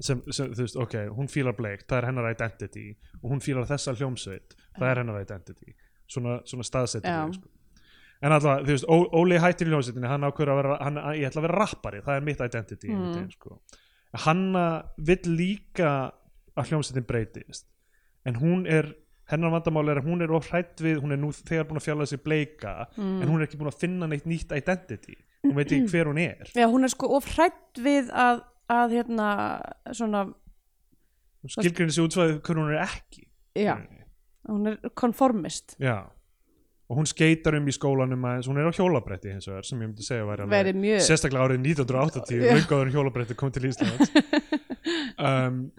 sem, sem, þú veist, ok, hún fílar bleikt, það er hennar identity og hún fílar þessa hljómsveit það er hennar identity svona, svona
Já.
staðsetting sko. en alltaf, þú veist, Ó, Óli hættir í hljómsveitinni hann ákveður að vera, hann, ég ætla að vera rappari það er mitt identity mm.
Mm.
veginn, sko. hanna vill líka að hljómsveitin breytist en hún er, hennar vandamál er að hún er of hrætt við, hún er nú þegar búin að fjalla sig bleika,
mm.
en hún er ekki búin að finna neitt nýtt identity, hún veit ekki hver hún er
já, hún er sko of hrætt við að, að hérna svona,
hún skilgreinir sig útsvæðið hver hún er ekki
já hún er konformist
Já og hún skeitar um í skólanum aðeins, hún er á hjólabretti hins vegar sem ég myndi segja væri alveg
Væri mjög-
sérstaklega árið 1980
Já.
lungaður hjólabretti kom til Íslands um,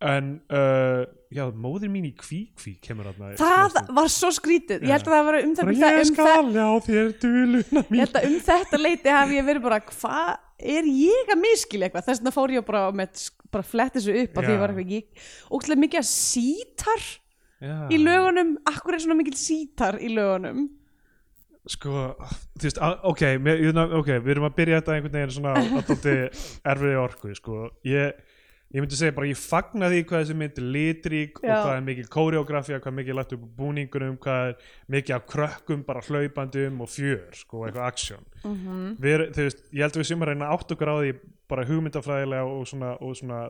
en uh, já, móðir mín í kví-kví kemur þarna
það
næstum.
var svo skrítið, ég held að það var um
bara
það, um
ég
það, um það
skal já þér duluna
Ég
mín
held að um þetta leiti hafi ég verið bara hvað er ég að miskilja eitthvað þess vegna fór ég bara með bara fletti þessu upp af því
Já.
ég var eitthvað ég ógstlega mikið að sítar
já.
í lögunum akkur er svona mikill sítar í lögunum
sko, þú veist, á- ok, mér, ég, ná- ok við erum að byrja þetta einhvern veginn svona á tótti erfiði orku, sko ég, ég myndi segja bara, ég fagna því hvað þessi mynd er litrík og
Já.
hvað er mikil kóreografía, hvað er mikil lagt upp á búningunum, hvað er mikið af krökkum bara hlaupandum og fjör sko, eitthvað aksjón -hmm. við, þú veist, ég held að við sem að reyna átt okkur á því bara hugmyndafræðilega og svona, og svona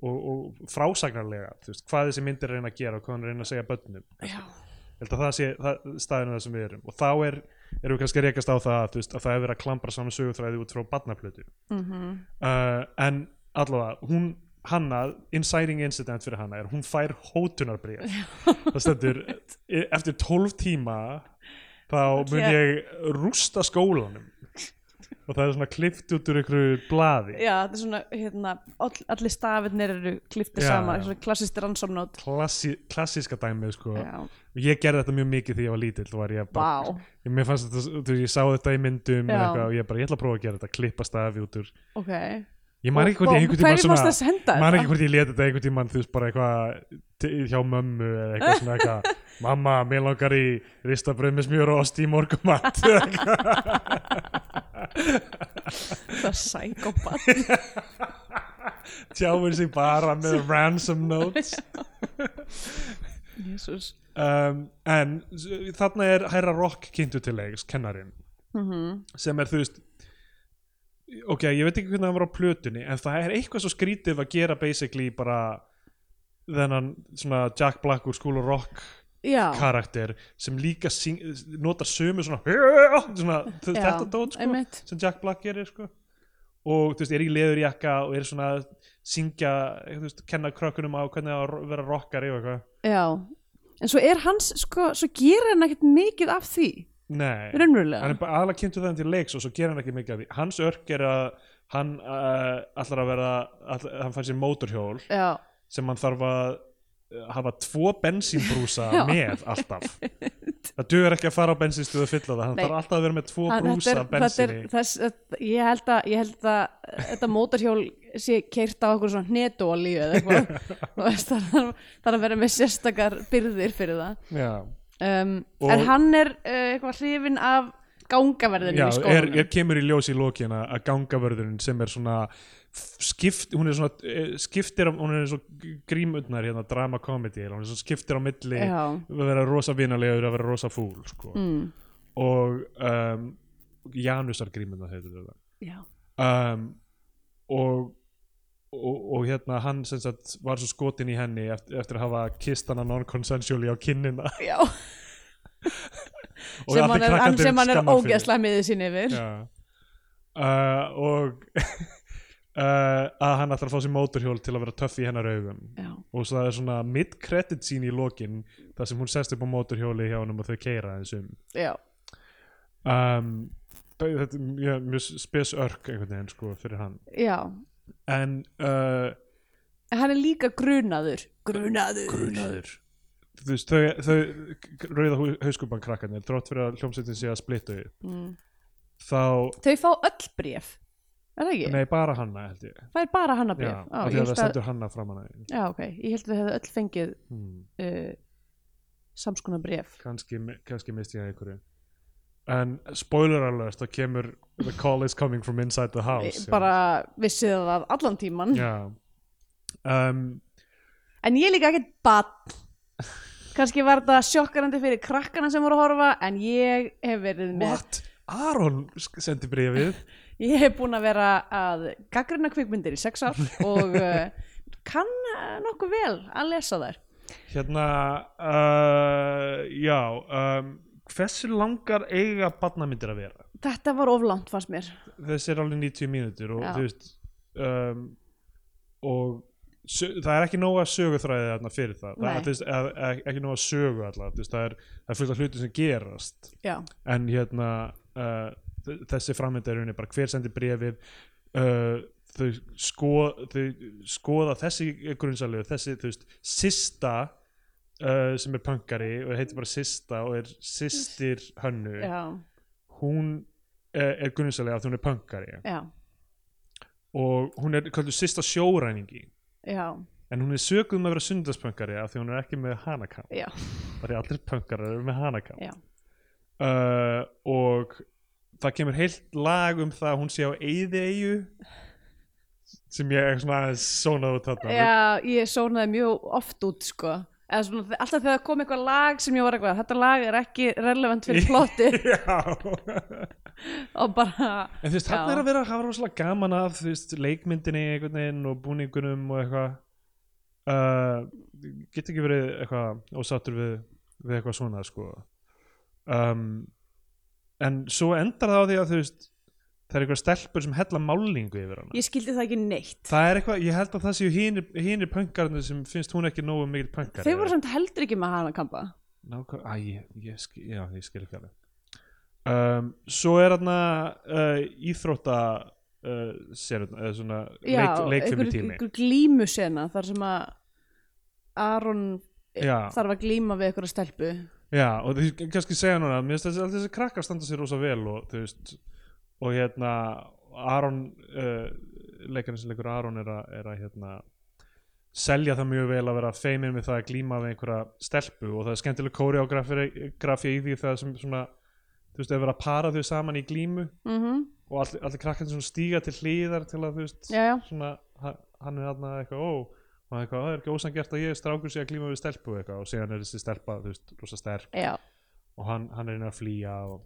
og, og frásagnarlega, þú veist, hvað þessi mynd er að reyna að gera og hvað hann er að reyna að segja börnum
já,
held að það sé það, staðinu það sem við erum og þá er, erum við kannski að rekast á það þú veist, að það er verið að klambra saman sögutræði út frá barnaplötu
Mhm.
uh, en allavega, hún hanna, inciting incident fyrir hanna er hún fær hótunarbrif það stendur, e- eftir 12 tíma þá mun
Ætli að-
ég rústa skólanum og það er svona klift út úr einhverju blaði
já þetta er svona hérna, all, allir stafirnir eru kliftið
Já,
saman
já.
svona klassist rannsóknót
Klassi, klassíska dæmið sko
Já.
ég gerði þetta mjög mikið þegar ég var lítill þá var ég bara,
Vá.
ég, mér fannst þetta, þú veist, ég sá þetta í myndum
Já.
og eitthvað, og ég bara, ég ætla að prófa að gera þetta, klippa stafi út úr
ok
ég man ekki hvort
Og-
ég
og
einhvern tímann
hverju varstu að
man
senda þetta?
ekki hvort ég leti þetta einhvern tímann þú veist, bara eitthvað til- hjá mömmu eða eitthvað svona eitthvað mamma, mér langar í ristabröð með smjör og ost í morgumat
það er sækópa
tjáir sig bara með ransom notes
jésús
um, en s- þarna er Hæra Rock kynntu til leiks, kennarin
Mhm.
-hmm. sem er þú veist ok, ég veit ekki hvernig það var á plötunni en það er eitthvað svo skrítið að gera basically bara þennan svona Jack Black úr School of Rock
já,
karakter sem líka syng, notar sömu svona, svona þ-
Já,
þetta dót sko,
einmitt.
sem Jack Black gerir sko og þú veist, er í leðurjakka og er svona að syngja, þú veist, kenna krökkunum á hvernig á að ro- vera rockari og eitthvað
já en svo er hans, sko, svo gerir hann ekkert mikið af því,
Nei,
raunverulega
hann er bara aðalega kynntu þannig til leiks og svo gerir hann ekki mikið af því hans örk er að hann uh, allar að vera, all, hann fær sér mótorhjól
já,
sem hann þarf að eh, hafa tvo bensínbrúsa
Já.
með alltaf það dugur ekki að fara á bensinstöðu að fylla það hann
Nei.
þarf alltaf að vera með tvo
hann,
brúsa af bensinni
þess, þetta- ég held að, ég held að þetta mótarhjól sé keirt á okkur svona hnetólíu eða eitthvað Þú veist, það þarf- þarf að vera með sérstakar byrðir fyrir það
já,
um,
Og-
en hann er uh, eitthvað hrifin af gangaverðinu
já
í
er,
skólanum
er kemur í ljós í lokina að gangavörðurinn sem er svona f- skipt, hún er svona eh, skiptir, á- hún er svo grímundnar hérna, drama comedy, hún er svo skiptir á milli
Já.
að vera rosa vinalegur að vera rosa fúl sko.
Mm.
og um, Janusar grímundnar heitir þetta
já,
um, og, og, og hérna hann sem sagt var svo skotin í henni eftir, eftir að hafa kist hana non-consensually á kinnina
já.
og allir
sem, hann er, hann,
krakkarnir
sem hann er
skamma fyrir.
ógeðslega miðið sín yfir
Já. uh, og uh, að hann ætlar að fá sér mótorhjól til að vera töff í hennar augum
Já.
og svo það er svona mid-credit sín í lokin þar sem hún sest upp á mótorhjóli hjá hann og þau keira eins um
Já.
um, þetta er mjög, mjög spes örk einhvern veginn sko fyrir hann
já,
en uh,
En hann er líka grunaður grunaður,
grunaður þú veist, þau, þau rauða hauskupan krakkarnir, þrótt fyrir að hljómsveitin sé að splittu upp
Mm.
þá,
þau fá öll bréf er það ekki?
nei bara hanna held ég,
það er bara hanna
já,
bréf Á,
af
ég
því að
held
það stendur hanna fram hana
já, ok, ég held að þau hefðu öll fengið
hmm,
uh, samskona bréf
kannski, kannski misti ég einhverju en spoiler alert, þá kemur the call is coming from inside the house
Eh, bara vissið það allan tíman
já, já. Um,
en ég er líka ekkert bann kannski var þetta sjokkarandi fyrir krakkana sem voru að horfa en ég hef verið með
what? Aron sk- sendi bréfið
ég hef búin að vera að gaggrina kvikmyndir í sex ár og uh, kann eh, nokkuð vel að lesa þær
hérna uh, já um, hversu langar eiga barnamyndir að vera?
þetta var oflant fannst mér
þessi er alveg 90 mínútur og
Já.
þú veist um, og sö- það er ekki nóga söguþræði þarna fyrir það, það
Nei.
er, þú veist, að, að, ekki nóga sögu allar, veist, það, er, það er fullt af hluti sem gerast
já,
en hérna uh, þ- þessi framvinda er rauninni bara hver sendir brefið uh, þau, sko, þau skoða þessi grunnsalegu, þessi þú veist, sista uh, sem er pönkari og heitir bara sista og er sýstir hönnu
já,
hún uh, er grunnsalegu að hún er pönkari
já,
og hún er kallur sista sjóræningi
já,
en hún er sökuð um að vera sundarspöngari af því hún er ekki með hanakam
já,
af því allir pöngarar eru með hanakam
Já.
uh, og það kemur heilt lag um það að hún sé á eyðieyju sem ég er svona aðeins sónað út þarna
já ég sónaði mjög oft út sko Eða svona, alltaf þegar kom eitthvað lag sem ég var eitthvað þetta lag er ekki relevant fyrir plotti
Já.
og bara
en þú veist,
Já.
hann er að vera að hafa rosalega gaman af þú veist, leikmyndinni einhvern veginn og búningunum og eitthvað uh, get ekki verið eitthvað ósattur við, við eitthvað svona sko um, en svo endar það á því að þú veist það er eitthvað stelpur sem hella málingu yfir hana
ég skildi það ekki neitt
það er eitthvað, ég held að það séu hinir, hinir pöngarnir sem finnst hún ekki nógu mikil pönkar
þau voru samt heldur ekki með hana kampa
Nákvæm, að ég, ég, skil, já, ég skil ekki alveg um, Svo er þarna uh, íþrótta uh, serið, eða svona leik, leikfimi tími
einhver glímusena þar sem að Aron
Já.
þarf að glíma við einhverja stelpu
Já, og því kannski segja núna mér finnst þessi, allir þessi krakkar standa sér rosa vel og þú veist og hérna Aron uh, leikarinn sem leikur Aron er að, er að hérna selja það mjög vel að vera feiminn við það að glíma við einhverja stelpu og það er skemmtileg kóreografi í því það sem svona þú veist, er verið að para þau saman í glímu
mm
og allir, allir krakkarnir svona stíga til hlýðar til að þú veist
já, já,
svona, ha- hann er aðna eitthvað ó og hann eitthvað, það er ekki ósangert að ég strákur sé að glíma við stelpu og eitthvað og síðan er þessi stelpa þú veist, rosa sterk
já,
og hann, hann er einn að flýja og,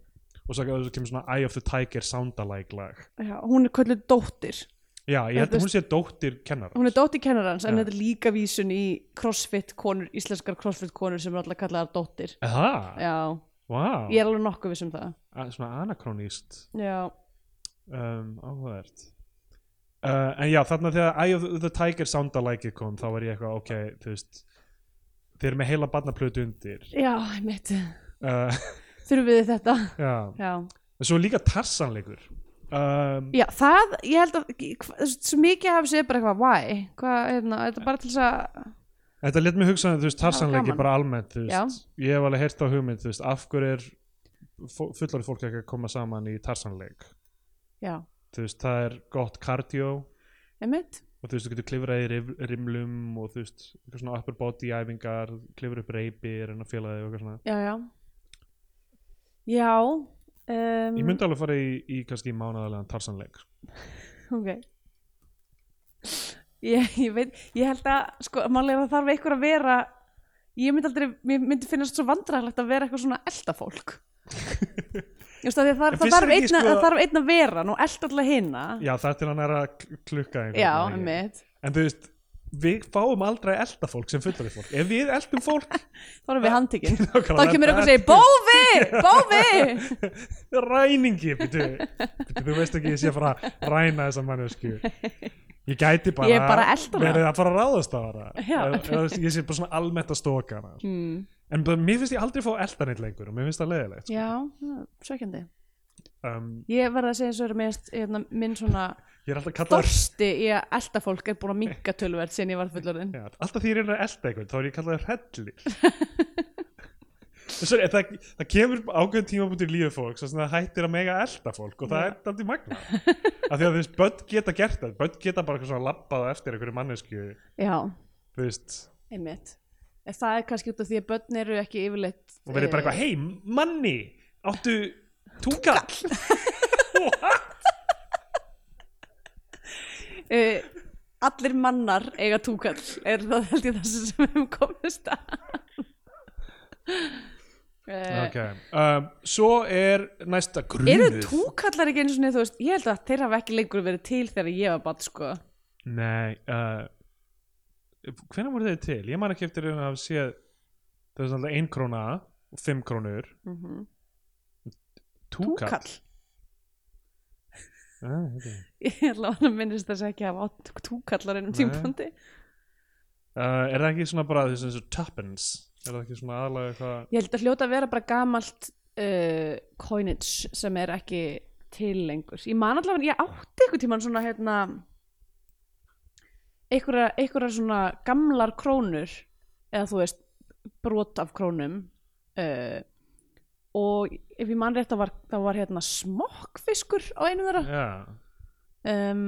og svo, svo kemur svona Eye of the Tiger soundalike lag
já hún er kvöldu dóttir
já, ég held
Þetta
að hún sé dóttir kennar
hún er dóttir kennarans en
Já.
þetta er líka vísun í crossfit konur, íslenskar crossfit konur sem er alltaf kallaðar dóttir
það,
já,
wow,
ég er alveg nokkuð viss um það
A- svona anakroníst
já,
um, áhugavert uh, en já, þarna þegar Eye of the Tiger soundalike kom, þá var ég eitthvað ok, þú veist þeir eru með heila barnaplötu undir
já, einmitt
uh,
þurfum við þetta
já,
já.
en svo er líka tarsanleikur um,
já, það, ég held að hva, svo mikið hafi séð bara eitthvað why, hvað, hérna, þetta er bara til þess að
Þetta let mér hugsa um, þú veist, tarsanleiki
gaman.
bara almennt, þú veist, ég hef alveg heyrt á hugmynd, þú veist, af hverju er fullarið fólk ekki að koma saman í tarsanleik,
já,
þú veist, það er gott kardió og
einmitt,
þú veist, þú getur klifrað í rif- rimlum og þú veist, eitthvað svona upper body æfingar, klifra upp reipir en að fela þig og eitthvað svona.
já, já já um,
Ég myndi alveg fara í, í kannski mánaðarlegan tarsanleik.
ok ég, ég veit, ég held að sko, málega það þarf einhver að vera ég myndi aldrei, mér myndi finnast svo vandræðilegt að vera eitthvað svona elda fólk Just, það, það,
En
það,
finnst
þarf
þér ekki,
einna,
sko-
það þarf einn að vera nú elda alltaf hina
Já, það er til hann er að kl- klukka einhvern
já,
veginn.
einmitt,
En þú veist, við fáum aldrei að elda fólk sem fullarið fólk. Ef við eldum fólk,
þá erum við handtekinn
þá
þá kemur eitthvað að segja, bófi, bófi
ræningi byrju, byrju, þú veist ekki að ég sé að fara að ræna þessa mannesku ég gæti bara,
Ég er bara að elta hana.
verið að fara að ráðast á hana
Já.
Eða- eða ég sé bara svona almennt að stóka hana
mm.
en bara, mér finnst ég aldrei fá eldan eitt lengur og mér finnst það leiðilegt
já, já, svækjandi
um,
ég verð að segja eins og er mest hérna, minn svona
ég er alltaf kallaður
dorsti í að elda fólk er búin að minka tölverð sinni ég var fullorðin
já, alltaf því ég er að elda einhvern þá er ég kallaður hellir Sorry, það, það kemur ákveðin tímabúti í lífið fólks þess að það hættir að mega elda fólk og það
Já.
er aldrei magna af því að þú veist, börn geta gert það börn geta bara eitthvað svona labbað á eftir einhverju mannesku
já,
þú veist
Einmitt. En það er kannski út af því að börn eru ekki yfirleitt
og verið bara
eh,
eitthvað, hei, manni áttu túkall
eh, allir mannar eiga túkall er það held ég þessi sem við hefum komist að uh,
ok, um, svo er næsta
eru
grunur
túkallar ekki eins og þú veist ég held að þeir hafa ekki lengur verið til þegar ég var bann sko
nei uh, hvenær voru þeir til? ég man ekki eftir að hafa séð það er svona ein króna og fimm krónur Mhm. túkall,
túkall
Ah, ok.
ég held að hann minnist þess ekki að hafa átt túkallar ennum
Nei.
tímpandi
uh, er það ekki svona bara þess eins og tuppence er það ekki svona aðalega eitthvað
ég held að hljóta að vera bara gamalt uh, coinage sem er ekki til lengur ég man allavega, ég átti einhvern tímann svona hérna einhverja, einhverja svona gamlar krónur eða þú veist brot af krónum uh, og ef ég man rétt þá var, þá var hérna smokkfiskur á einu þeirra
já
um,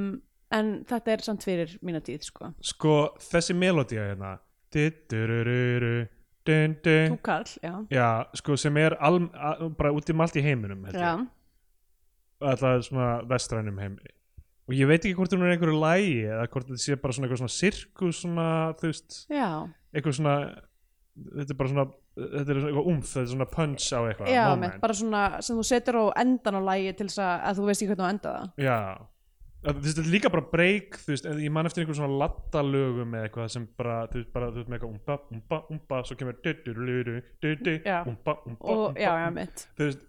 en þetta er samt fyrir mína tíð sko
sko þessi melodía hérna Didurururu, dun, dun.
þú kall, já,
Já, sko sem er al, a, bara út í malt í heiminum held
já.
ég. alltaf svona vestrænum heimi og ég veit ekki hvort hún er í einhverju lægi eða hvort þetta sé bara svona eitthvað svona sirkus svona, þú veist,
já.
eitthvað svona þetta er bara svona þetta er svona eitthvað umf, þetta er svona punch á eitthvað
Já,
moment.
mitt, bara svona sem þú setur á endan á lægi til þess að, að þú veist ekki hvernig á enda það
Já, Að, þú veist, þetta er líka bara break, þú veist, en ég man eftir einhverjum svona lattalögum eða eitthvað sem bara, þú veist, bara, þú veist, með eitthvað umba, umba, umba, svo kemur duduruluru, dudu,
Já.
umba, umba,
og já, já,
umba,
mitt
þú veist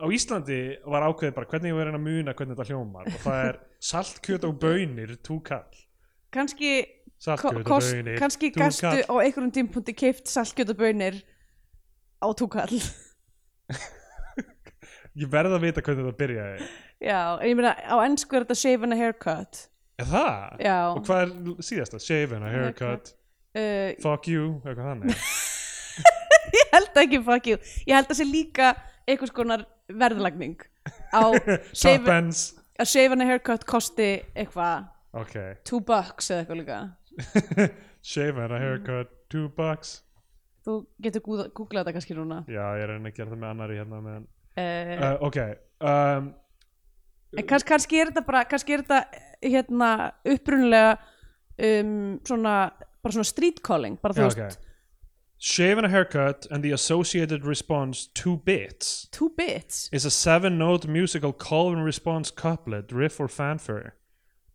á Íslandi var ákveðið bara hvernig ég var að reyna að muna hvernig þetta hljómar og það er saltkjöt og bönir túkall
kannski, ko-
saltkjöt og
kost,
bönir
kannski
túkall.
gastu á einhverjum tímpunkti keift saltkjötabönir á túkall
ég verð að vita hvernig þetta byrjaði
já, en ég meina á ennsku er þetta shave and a haircut
er það?
já,
og hvað er síðasta? shaven, a haircut,
uh,
fuck you oh, eitthvað þannig
ég held ekki fuck you ég held að sé líka einhvers konar verðlagning á shave,
tuppence
að shave and a haircut kosti eitthvað
ok
two bucks eða eitthvað líka
shaven, a haircut, two bucks
þú getur gúða- googlað þetta kannski núna
já, ég er að reyna að gera það með annari hérna meðan
uh,
uh, ok um,
En kanns, kannski er þetta bara, kannski er þetta hérna upprunulega um, svona, bara svona street calling bara þú
já,
veist,
ok shaven, a haircut and the associated response two bits
two bits
is a seven note musical call and response couplet, riff or fanfare,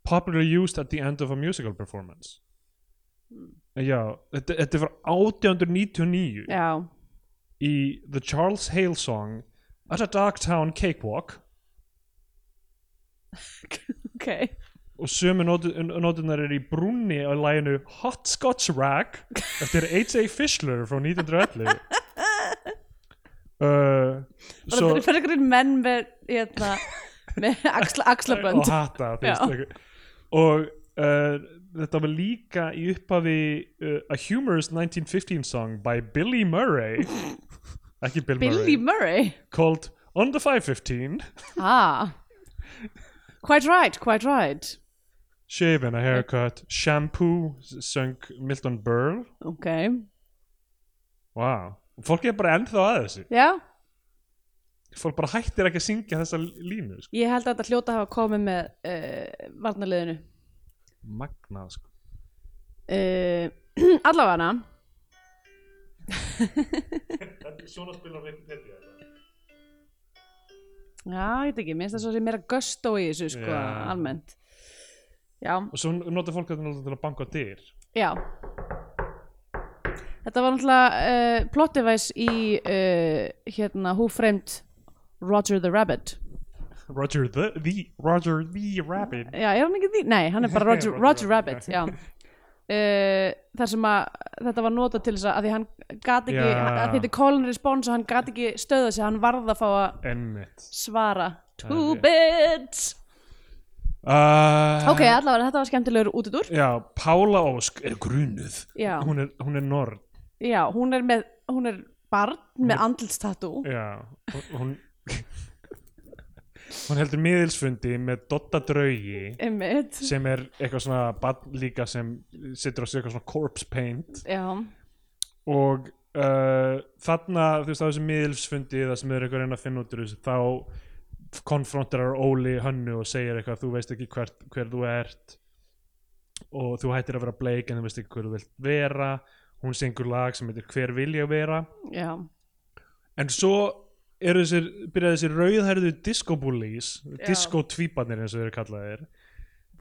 popularly used at the end of a musical performance. Já, þetta, þetta er frá 1899
Já,
í E, The Charles Hale song At a Dark Town Cakewalk
ok
og sömu nótunar er í brúnni á læginu Hot Scotch Rag eftir H.A. Fischler frá 1911 uh,
Bara
svo,
þetta er fyrir einhverjum menn með, hérna, með axla,
og
axlabrönd
hata þú
Já.
veist, eitthvað. og uh, þetta var líka í upphafi uh, A Humorous 1915 song by Billy Murray ekki Bill
Billy
Murray
Murray
called On the 515
ah. Quite right, quite right
Shave and a Haircut Shampoo s- söng Milton Berle
Ok,
wow. fólk er bara ennþá að þessu
já
fólk bara hættir ekki að syngja þessa línu sko.
Ég held að þetta hljóta hafa komið með uh, varnarliðinu
magnað sko.
uh, Allavega
svona spilar við þetta
Já, ég veit ekki, minnst það svo sem meira gusto í þessu sko,
Já.
almennt Já,
og svo notar fólk þetta náttúrulega til að banka á dyr
já Þetta var náttúrulega uh, plottivæs í uh, hérna Who Framed Roger the Rabbit
Roger the, the Roger the Rabbit
Já, er hann ekki því? Nei, hann er bara Roger,
Roger
Roger
Rabbit,
Rabbit, já Uh, þar sem að þetta var notað til þess að að því hann gat ekki,
Já.
að því þetta er call and response og hann gat ekki stöða sig, hann varð að fá að
Einmitt
svara Two
rétt.
bits
uh,
Ok, allavega þetta var skemmtilegur útidúr
Já, Pála Ósk er grunuð
Já.
Hún er, hún er norn
Já, hún er með, hún er barn með andlstatú
Já, og- og hún Hún heldur miðilsfundi með Dotta Draugi
einmitt,
sem er eitthvað svona barn líka sem situr á sig eitthvað svona corpse paint
já,
og uh, þarna þú veist á þessum miðilsfundi það sem er eitthvað að reyna að finna út úr þessu þá konfrontarar Óli hönnu og segir eitthvað þú veist ekki hver, hver þú ert og þú hættir að vera bleik en þú veist ekki hver þú vilt vera hún syngur lag sem heitir hver vil ég vera
já
en svo eru þessir byrjaði þessir rauðherðu discobullies
Já.
discotvíparnir eins og þeir eru kallaðir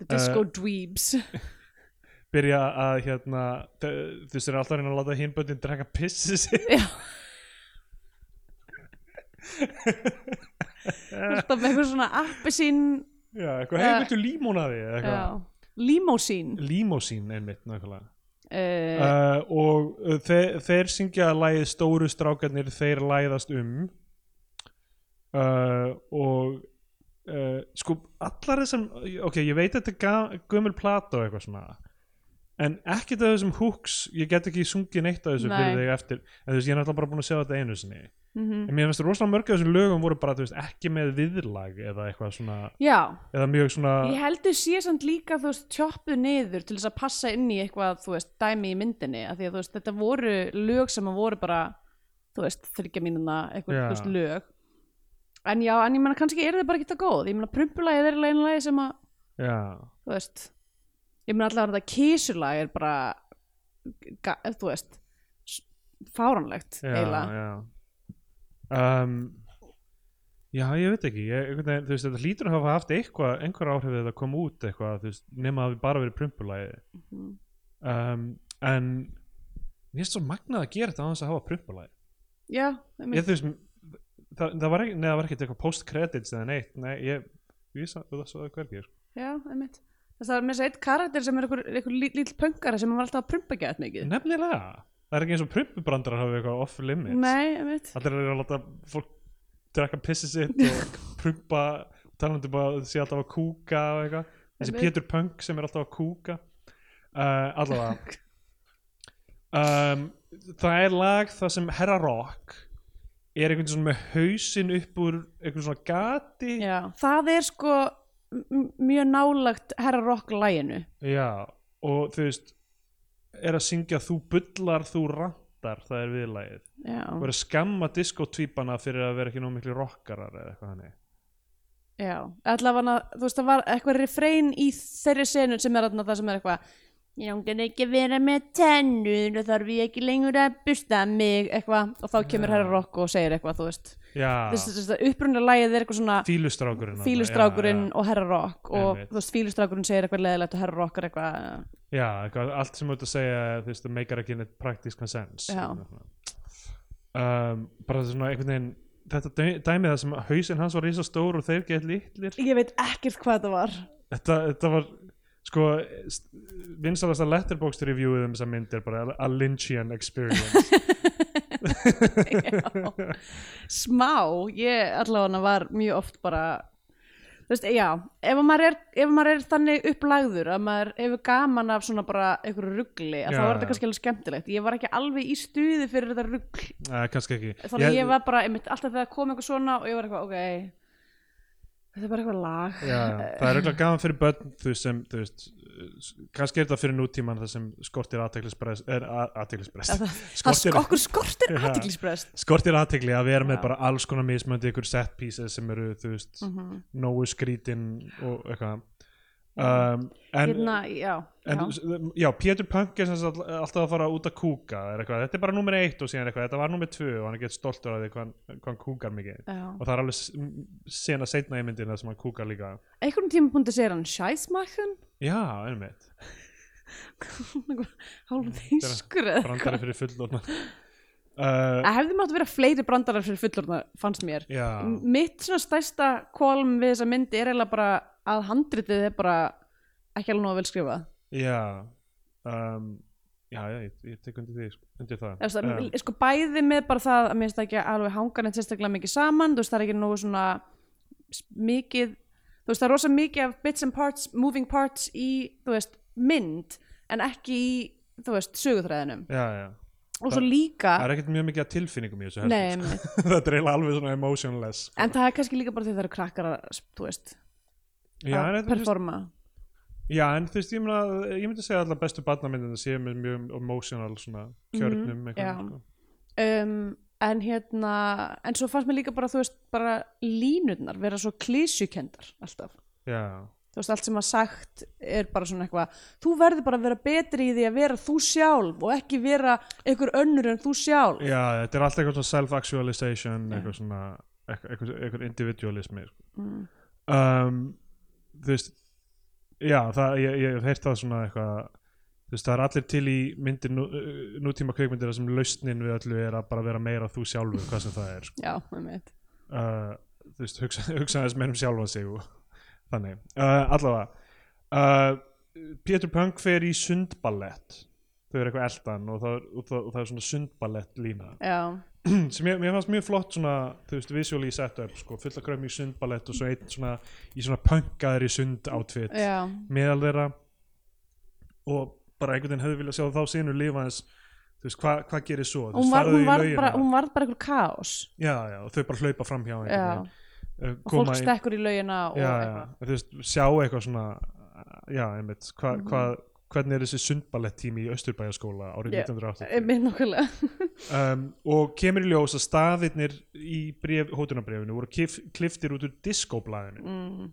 The Disco Dweebs
byrja að hérna þau- þú veist þeir eru alltaf að reyna að láta hinböndin drekka pissi sig
alltaf með eitthvað svona appisín
Já, eitthvað,
Já.
hei, viltu límónaði eða eitthvað
já, limósín
Limósín einmitt nákvæmlega
uh,
uh, og uh, þeir, þeir syngja lagið stóru strákarnir þeir læðast um uh, og uh, sko allar þessum ok, ég veit þetta er ga- gömul plata og eitthvað svona en ekkert af þessum hooks, ég get ekki sungið neitt af þessu
Nei.
fyrir þig eftir en þú veist, ég er náttúrulega bara búin að sjá þetta einu sinni
mm
en mér finnst rosalega mörg af þessum lögum voru bara, þú veist, ekki með viðlag eða eitthvað svona,
Já,
eða mjög svona
ég heldur sé samt líka þú veist tjóppuð niður til þess að passa inn í eitthvað þú veist dæmi í myndinni af því að þú veist þetta voru lög sem að voru bara þú veist þryggja mínuna eitthvað
Já.
þú veist lög en já, en ég meina kannski er þið bara ekki það góð ég meina prumpulagið er einu lagi sem að
já,
þú veist ég meina allavega þetta kísulag er bara ga, þú veist s- fáránlegt eiginlega
já, já. Um, já, ég veit ekki ég, einhvern veginn, þú veist, þetta hlýtur að hafa haft eitthvað, einhver áhrif að þetta kom út eitthvað, þú veist, nema að við bara verið prumpulagi
Mhm.
um, en mér finnst svo magnað að gera þetta á þess að hafa prumpulagi
já, einmitt.
ég, þú veist, það, það var ekki, neða, það var ekki eitthvað post-credits eða neitt, nei, ég ég sá það svo hvergi sko.
já, einmitt þess að það er með þess að eitt karakter sem er einhver, einhver lí- lítill pöngara sem var alltaf að prumpa gætt mikið
nefnilega, það er ekki eins og prumpubrandar hafi eitthvað off-limits
nei, einmitt
Allir eru að láta fólk drekka pissi sitt og prumpa talandi bara að sé alltaf að kúka og eitthvað þessi
Einmitt.
Pétur Punk sem er alltaf að kúka uh, allavega um, það er lag það sem Herra Rock er einhvern svona með hausinn upp úr einhvern svona gati
já. það er sko m- mjög nálagt herra rock læginu
Já, og þú veist er að syngja þú bullar þú rantar, það er viðlagið
já,
og er að skamma diskotvípana fyrir að vera ekki nóg miklu rockarar eða eitthvað hannig
já allavega, þú veist það var eitthvað refrein í þeirri senu sem er þarna það sem er eitthvað ég langar ekki að vera með tennur og þarf ég ekki lengur að busta mig eitthvað og þá kemur herra rock og segir eitthvað þú veist
Já,
þess þess að upprunnilega lægið er eitthvað svona
fílustrákurinn þarna,
fílustrákurinn
já,
og herra rock og
Einmitt.
þú veist fílustrákurinn segir eitthvað leðilegt og herra rock er eitthvað
já, já, eitthvað, allt sem þú ert að segja þú veist, það meikar ekki neitt praktískan sens
Já.
um, bara svona einhvern veginn þetta dæ- dæmi það sem hausinn hans var risa stór og þeir gett litlir
ég veit ekkert hvað þetta var
þetta, þetta var sko vinsalasta letterboxd reviewið um þessa mynd er bara a Lynchian experience
Já. smá, ég allavega var mjög oft bara þú veist, já, ef að maður er, ef að maður er þannig upplagður að maður hefur gaman af svona bara einhverju ruggli
Já,
að þá var
já.
þetta kannski alveg skemmtilegt ég var ekki alveg í stuði fyrir þetta ruggl
uh, kannski ekki
þannig að ég var bara, einmitt, alltaf þegar kom eitthvað svona og ég var eitthvað, ok þetta er bara eitthvað lag
já, það er auðvitað gaman fyrir börn þú veist, sem, þú veist uh, kannski er þetta fyrir nútíman það sem skortir aðteglisbrest er
Það-
aðteglisbrest
það- það sk okkur skortir
Já.
aðtiklisbrest
skortir aðtegli að vera með
Já. Mm.
bara alls konar mismöndi ykkur set pieces sem eru þú veist,
Mhm.
nógu skrítin og eitthvað um, en,
hérna, já,
en
já.
já. já, Pétur Punk er sem sagt all- alltaf að fara út að kúka það er eitthvað, þetta er bara númer eitt og síðan eitthvað þetta var númer tvö og hann er gett stoltur af því hvað hann- hvað hann kúkar mikið
já.
og það er alveg s- m- sena seinna í myndina sem hann kúkar líka
einhvern tímapunkti segir hann Scheissmachen
já, einmitt,
hálfum þýskur eða
brandari fyrir fullorna uh,
Það hefði mátt að vera fleiri brandarar fyrir fullorna, fannst mér.
já,
M- Mitt svona stærsta kolm við þessa myndi er eiginlega bara að handritið er bara ekki alveg nóg að vel skrifa.
já um, já, já, ég, ég tek undir því sko, undir það,
Eftir,
Um,
um. Sko bæði með bara það að minnst ekki alveg hanga neitt sérstaklega mikið saman, þú veist það er ekki nógu svona s- mikið, þú veist það er rosa mikið af bits and parts, moving parts í, þú veist, mynd en ekki í, þú veist, söguþræðinum.
já, já
Og svo líka,
það er ekkert mjög mikið að tilfinningum í þessu heldur,
nei, einmitt.
sko. þetta er eiginlega alveg svona emotionless
en það er kannski líka bara því það eru krakkar að, þú veist,
já, en
að
þetta er
performa.
Já, en þú veist, ég, myna, ég myndi segja að allar bestu barnamyndina séu með mjög emotional svona kjörnum mm
Mhm, já.
-hmm,
um, en hérna en svo fannst mér líka bara, þú veist, bara línurnar vera svo klísjukendar alltaf,
já.
þú veist, allt sem að sagt er bara svona eitthvað, þú verður bara að vera betri í því að vera þú sjálf og ekki vera einhver önnur en þú sjálf
já, þetta er alltaf eitthvað svona self-actualization eitthvað svona eitthvað, eitthvað- eitthvað individualismi sko.
Mm.
um, þú veist já, það, ég, ég hef heyrt það svona eitthvað þú veist, það er allir til í myndir nú, uh, nútíma kveikmyndir þar sem lausnin við öllu er að bara vera meira þú sjálfur hvað sem það er sko.
já, með mitt
uh, þú veist, hugsa, hugsa aðeins meir um sjálfa sig og þannig, uh, allavega uh, Pétur Punk fer í sundballett þau eru eitthvað eldan og það, og það, og það er svona sundballett lína
já,
sem ég, mér fannst mjög flott svona, þú veist, visually setup sko, fulla krömi í sundballett og svo einn svona í svona punkaðri sund outfit
já,
meðal þeirra og bara einhvern veginn hefði viljað sjá þá sinu lifa eins þú veist, hvað hva gerir svo Þú
hún
veist,
var,
farðu
hún
í
var
laugina.
bara hún var bara einhver kaos
já, já, og þau bara hlaupa fram hjá einhvern
já,
veginn uh,
og
koma
fólk
inn-
stekkur í laugina og
já,
eitthvað
já, þú veist, sjá eitthvað svona já, einmitt, hva,
Mhm.
hva, hvernig er þessi sundballett tími í Östurbæjaskóla árið
Já,
1980
Einmitt nokkulega
um, og kemur í ljós að staðirnir í bref, hótunabrefinu voru kif, kliftir út úr diskoblaðinu
mm.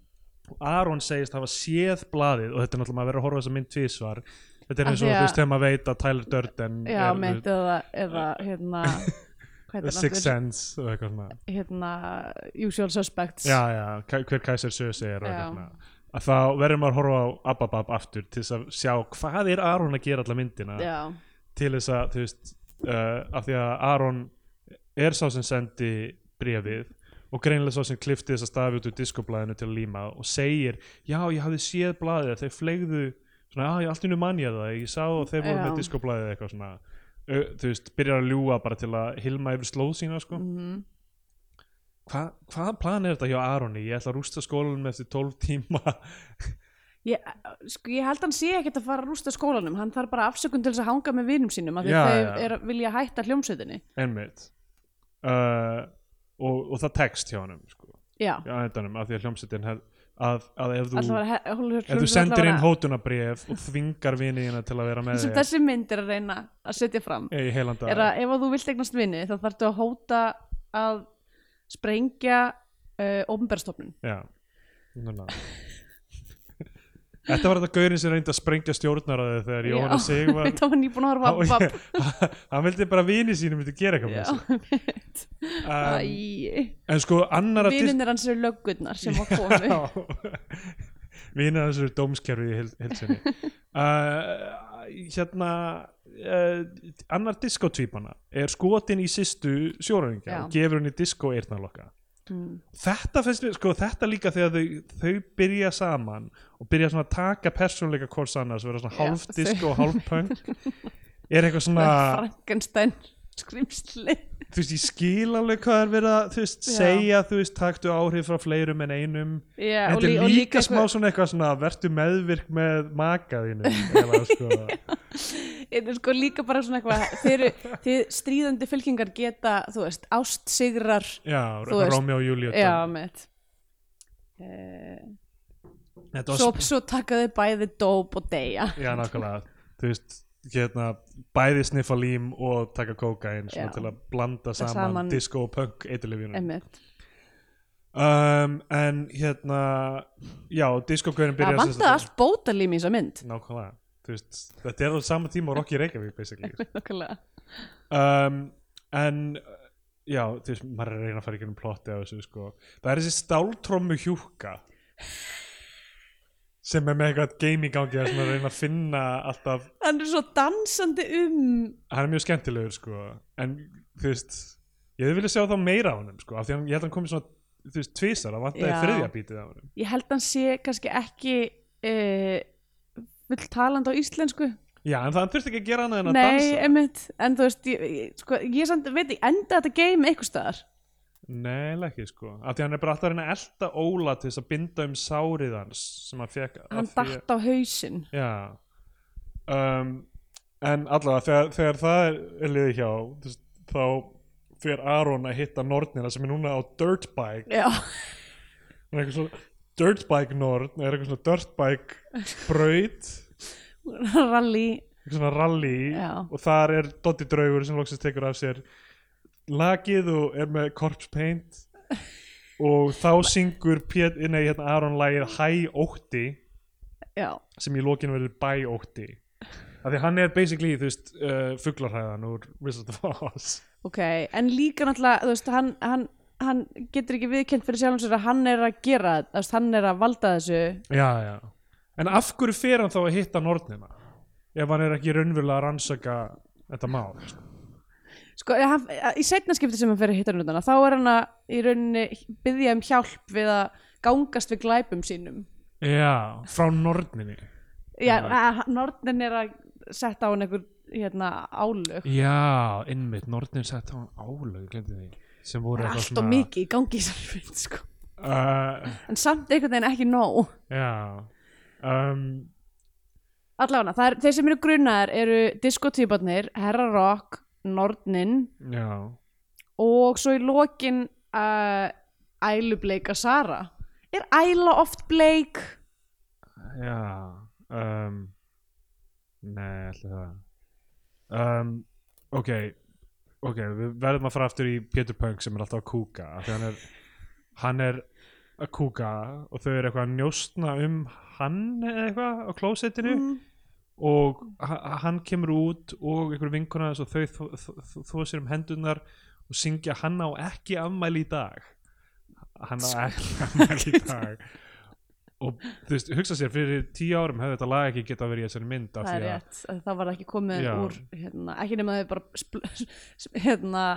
og Aron segist hafa séð blaðið og þetta er náttúrulega maður verið að horfa á þessa mynd tvísvar þetta er
Af
eins
því
og þú
að-
veist þegar maður veit að Tyler Durden
Já,
er
mitt eða, eða hérna hvað
The
heitir
Sixth
aftur?
Sense og eitthvað svona
hérna Usual Suspects
já, já, ka- hver kæsir Sösi er og
Já.
eitthvað svona að þá verður maður að horfa á Ababab aftur til þess að sjá hvað er Aron að gera alla myndina
já,
til þess að þú veist uh, af því að Aron er sá sem sendi brefið og greinilega sá sem klifti þess að stafi út úr diskoblaðinu til að líma og segir já ég hafði séð blaðið þeir fleigðu svona að ég allt innu mann ég það ég sá að þeir voru
Já.
með diskoblaðið eitthvað svona uh, þú veist byrjar að ljúga bara til að hilma yfir slóð sína sko
mhm.
Hva, hvaða plan er þetta hjá Aroni? Ég ætla að rústa skólanum eftir 12 tíma
ég, sko, ég held hann sé ekkert að fara að rústa skólanum hann þarf bara afsökun til þess að hanga með vinum sínum af því
Já,
að þeir
já.
er, vilja hætta hljómsveitinni
einmitt uh, og, og það tekst hjá honum sko,
já,
á endanum af því að hljómsettin hef, að, að ef þú,
alltaf var he- hún-
ef þú
hljómsveitin
sendir
allavega-
inn hótunabref og þvingar viniðina til að vera með
sem
þér
þessi mynd er að reyna að setja fram
í heilan dag
er að ef að þú vilt eignast vinni þá þarftu að hóta að sprengja uh, ofnberðstofnun
Já, núna Þetta var þetta gaurinn sem reyndi að sprengja stjórnaraðið þegar Jóhanna Sig var
þetta var nýbúin að horfa á
Hann-
Babb.
hann vildi bara vinið sínum myndi gera eitthvað
Já,
með
einmitt.
þessu um,
Æ,
En sko annara
vinninir hans eru löggurnar sem að komu
Vinið hans eru dómskerfið í heild- heild sinni uh, Hérna uh, annar diskotvípana er skotin í sýstu sjóræðingja
Já.
og gefur henni disko eyrnalokka þetta finnst mér, sko, þetta líka þegar þau, þau byrja saman og byrja svona að taka persónleika hvors annars vera svona
Já,
hálfdisk
þau-
og hálfpöng er eitthvað svona
Frankenstein skrimsli
þú veist, ég skil alveg hvað er verið að þú veist,
Já.
segja, þú veist, taktu áhrif frá fleirum en einum
Já,
þetta
Eh, lí-
er líka
eitthvað-
smá svona eitthvað svona vertu meðvirk með makaðinu eða sko
Þetta er sko líka bara svona eitthvað þeir, eru- þið stríðandi fylkingar geta þú veist, ást sigrar
já,
Þú veist.
Rómi og Júlíu
já, með uh,
þetta var
svo, svo taka þau bæði dóp og deyja
Já, nákvæmlega, þú veist hérna, bæði sniffa lím og taka kókain svona
Já.
til að blanda saman,
saman-
disco og punk eitilifjunum
einmitt,
um, en hérna já, disco-gaurin
það
byrja
vantaði allt bótalím í þessa mynd
nákvæmlega, þú veist, þetta er á sama tíma og Rocky Reykjavík basically
Nákvæmlega.
um, en uh, já, þú veist, maður er að reyna að fara ekki um plotti á þessu sko, það er þessi stáltrommu hjúka sem er með eitthvað game í gangi þar sem maður er að reyna að finna alltaf
hann er svo dansandi um
hann er mjög skemmtilegur sko en þú veist ég hefði viljað sjá þá meira á honum sko af því hann, ég held að hann komið svona þú veist tvisar að vantaði
Já.
þriðja bítið á honum
ég held hann sé kannski ekki uh, vill talandi á íslensku
já en það hann þurfti ekki að gera annað en að
nei,
dansa
einmitt, en þú veist ég, ég, sko, ég samt, veit ekki, enda þetta game einhvers staðar
nei, eiginlega ekki sko af því hann er bara alltaf að reyna að elta Óla til þess að binda um sárið hans sem hann fekk
hann datt á hausinn
já um, en allavega þegar, þegar það er, er liðið hjá þú veist, þá fer Aron að hitta nornina sem er núna á dirtbike
já,
hún er eitthvað svona dirtbike norn er eitthvað svona dirtbike braut
rally
eitthvað svona rally
Já.
og þar er Doddi draugur sem loksins tekur af sér lagið og er með corpse paint og þá syngur Pét, nei, hérna Aron lagið Hæ ótti
já,
sem í lokinu verður Bæ ótti af því hann er basically þú veist uh, fuglarhæðan úr Wizard of Oz
ok, en líka náttúrulega þú veist, hann, hann, hann getur ekki viðkjönt fyrir sjálfum sér að hann er að gera þetta, þú veist, hann er að valda þessu
já, já. en af hverju fer hann þá að hitta nornina ef hann er ekki raunverulega að rannsaka þetta mál sko?
sko, eh, hann, eh, í setna skipti sem hann fer að hitta nötana þá er hann að í rauninni byggja um hjálp við að gangast við glæpum sínum
Já, frá norninni
já, eh, nornin er að setja á hann einhver hérna álög
Já, innmitt, nornin sett á hann álög, glemdi því sem voru eitthvað
allt og mikið í gangi í þessari mynd sko.
uh,
en samt einhvern veginn ekki nóg
Já um,
allavega, það er, þeir sem eru grunaðar eru diskotýparnir, Herra Rock Nornin
Já,
og svo í lokin uh, ælubleika Sara er æla oft bleik
já um, Nei, ætli það um, Ok Ok, við verðum að fara aftur í Peter Punk sem er alltaf að kúka af því hann er, hann er að kúka og þau eru eitthvað að njóstna um hann eða eitthvað á klósettinu
Mm,
og ha- hann kemur út og einhver vinkona þess og þau þó- þó sér um hendunar og syngja hann á ekki afmæli í dag hann á ekki afmæli í dag og þú veist, hugsa sér fyrir tíu árum hefði þetta lag ekki geta verið í þessari mynd af
það er
því að,
rétt, að það var ekki komið
Já.
úr hérna, ekki nema þau bara spl, sp- hérna,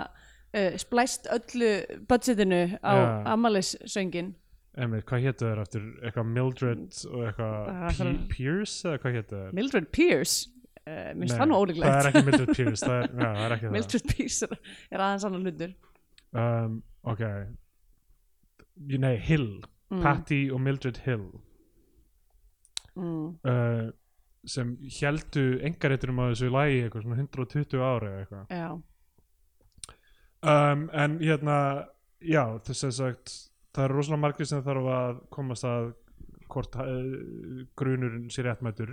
uh, splæst öllu budgetinu á
Já.
amalissöngin
emir, hvað hétu þeir aftur eitthvað Mildred og
Ah,
eitthvað Pe
hvað-
Pierce eða hvað hétu þeir
Mildred Pierce uh, minnst
Nei,
það nú
það er
ólíklegt
ekki Mildred Pierce, það er, já, það er ekki það
Mildred Pierce er, er aðeins annar hlutur
um, ok Ég- nei, Hill
Hmm.
Patty og Mildred Hill
mm.
uh, sem heldu engaréttunum á þessu lagi eitthvað svona 120 ári eða eitthvað
já,
um, en hérna já, þess að sagt það eru rosalega margir sem þarf að komast að hvort uh, grunurinn sér réttmætur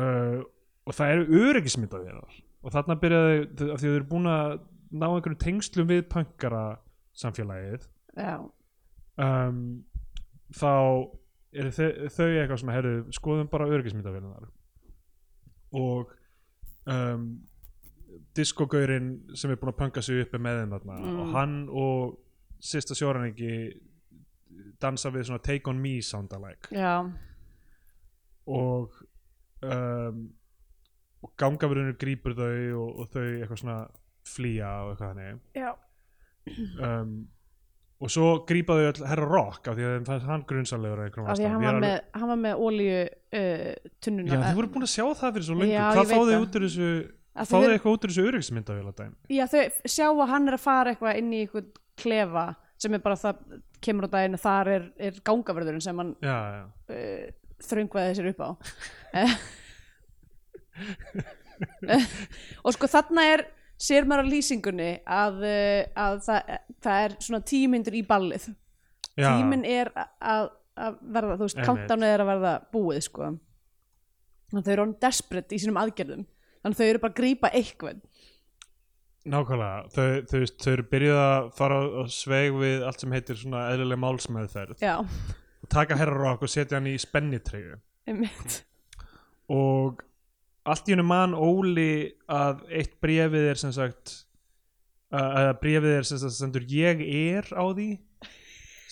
uh, og það eru öryggismyndað þér og þarna byrjaði af því að þau eru búin að ná einhverjum tengslum við pöngara samfélagið
já,
um, þá eru þau, þau eitthvað svona herðu, skoðum bara öryggismyndavélunar og um, diskogaurinn sem er búin að pönga sig uppi með þeim þarna
Mm.
og hann og sista sjóraningi dansa við svona take on me soundalæk
já
og um, og gangafurinn grípur þau og, og þau eitthvað svona flýja og eitthvað þannig
Já.
um, og svo grípaðu öll herra rock af því að þeim fannst hann grunnsamlegur af einhverjum
af því að
ástæðum.
hann
Ég er
var
alveg-
með, hann var með olíu uh, tunnuna
Já, þið voru búin að sjá það fyrir svo lengur
Já, ég
Hvað
veit
fáðu þið
það.
út úr þessu
Að þau
Fáðu þið
eru-
eitthvað út úr þessu öryggismyndavél dæmi?
Já, þau sjá að hann er að fara eitthvað inn í eitthvað klefa sem er bara það kemur á daginn að þar er, er gangavörðurinn sem hann
Já, já
uh, þröngvaði sér upp á Eh, og sko þarna er sér maður á lýsingunni að, uh, að það, það er svona tímyndur í ballið
Já,
tíminn er a- að, að verða þú veist,
Einmitt.
countdownið er að verða búið sko þannig að þau eru hann desperate í sínum aðgerðum þannig að þau eru bara að grípa eitthvað
nákvæmlega Þau, þau, veist, þau eru byrjuð að fara á sveig við allt sem heitir svona eðlileg málsmeðferð
já,
og taka herra rock og setja hann í spennitreyju
einmitt
og allt í hennu mann Óli að eitt brefið er sem sagt að að brefið er sem sagt stendur ég er á því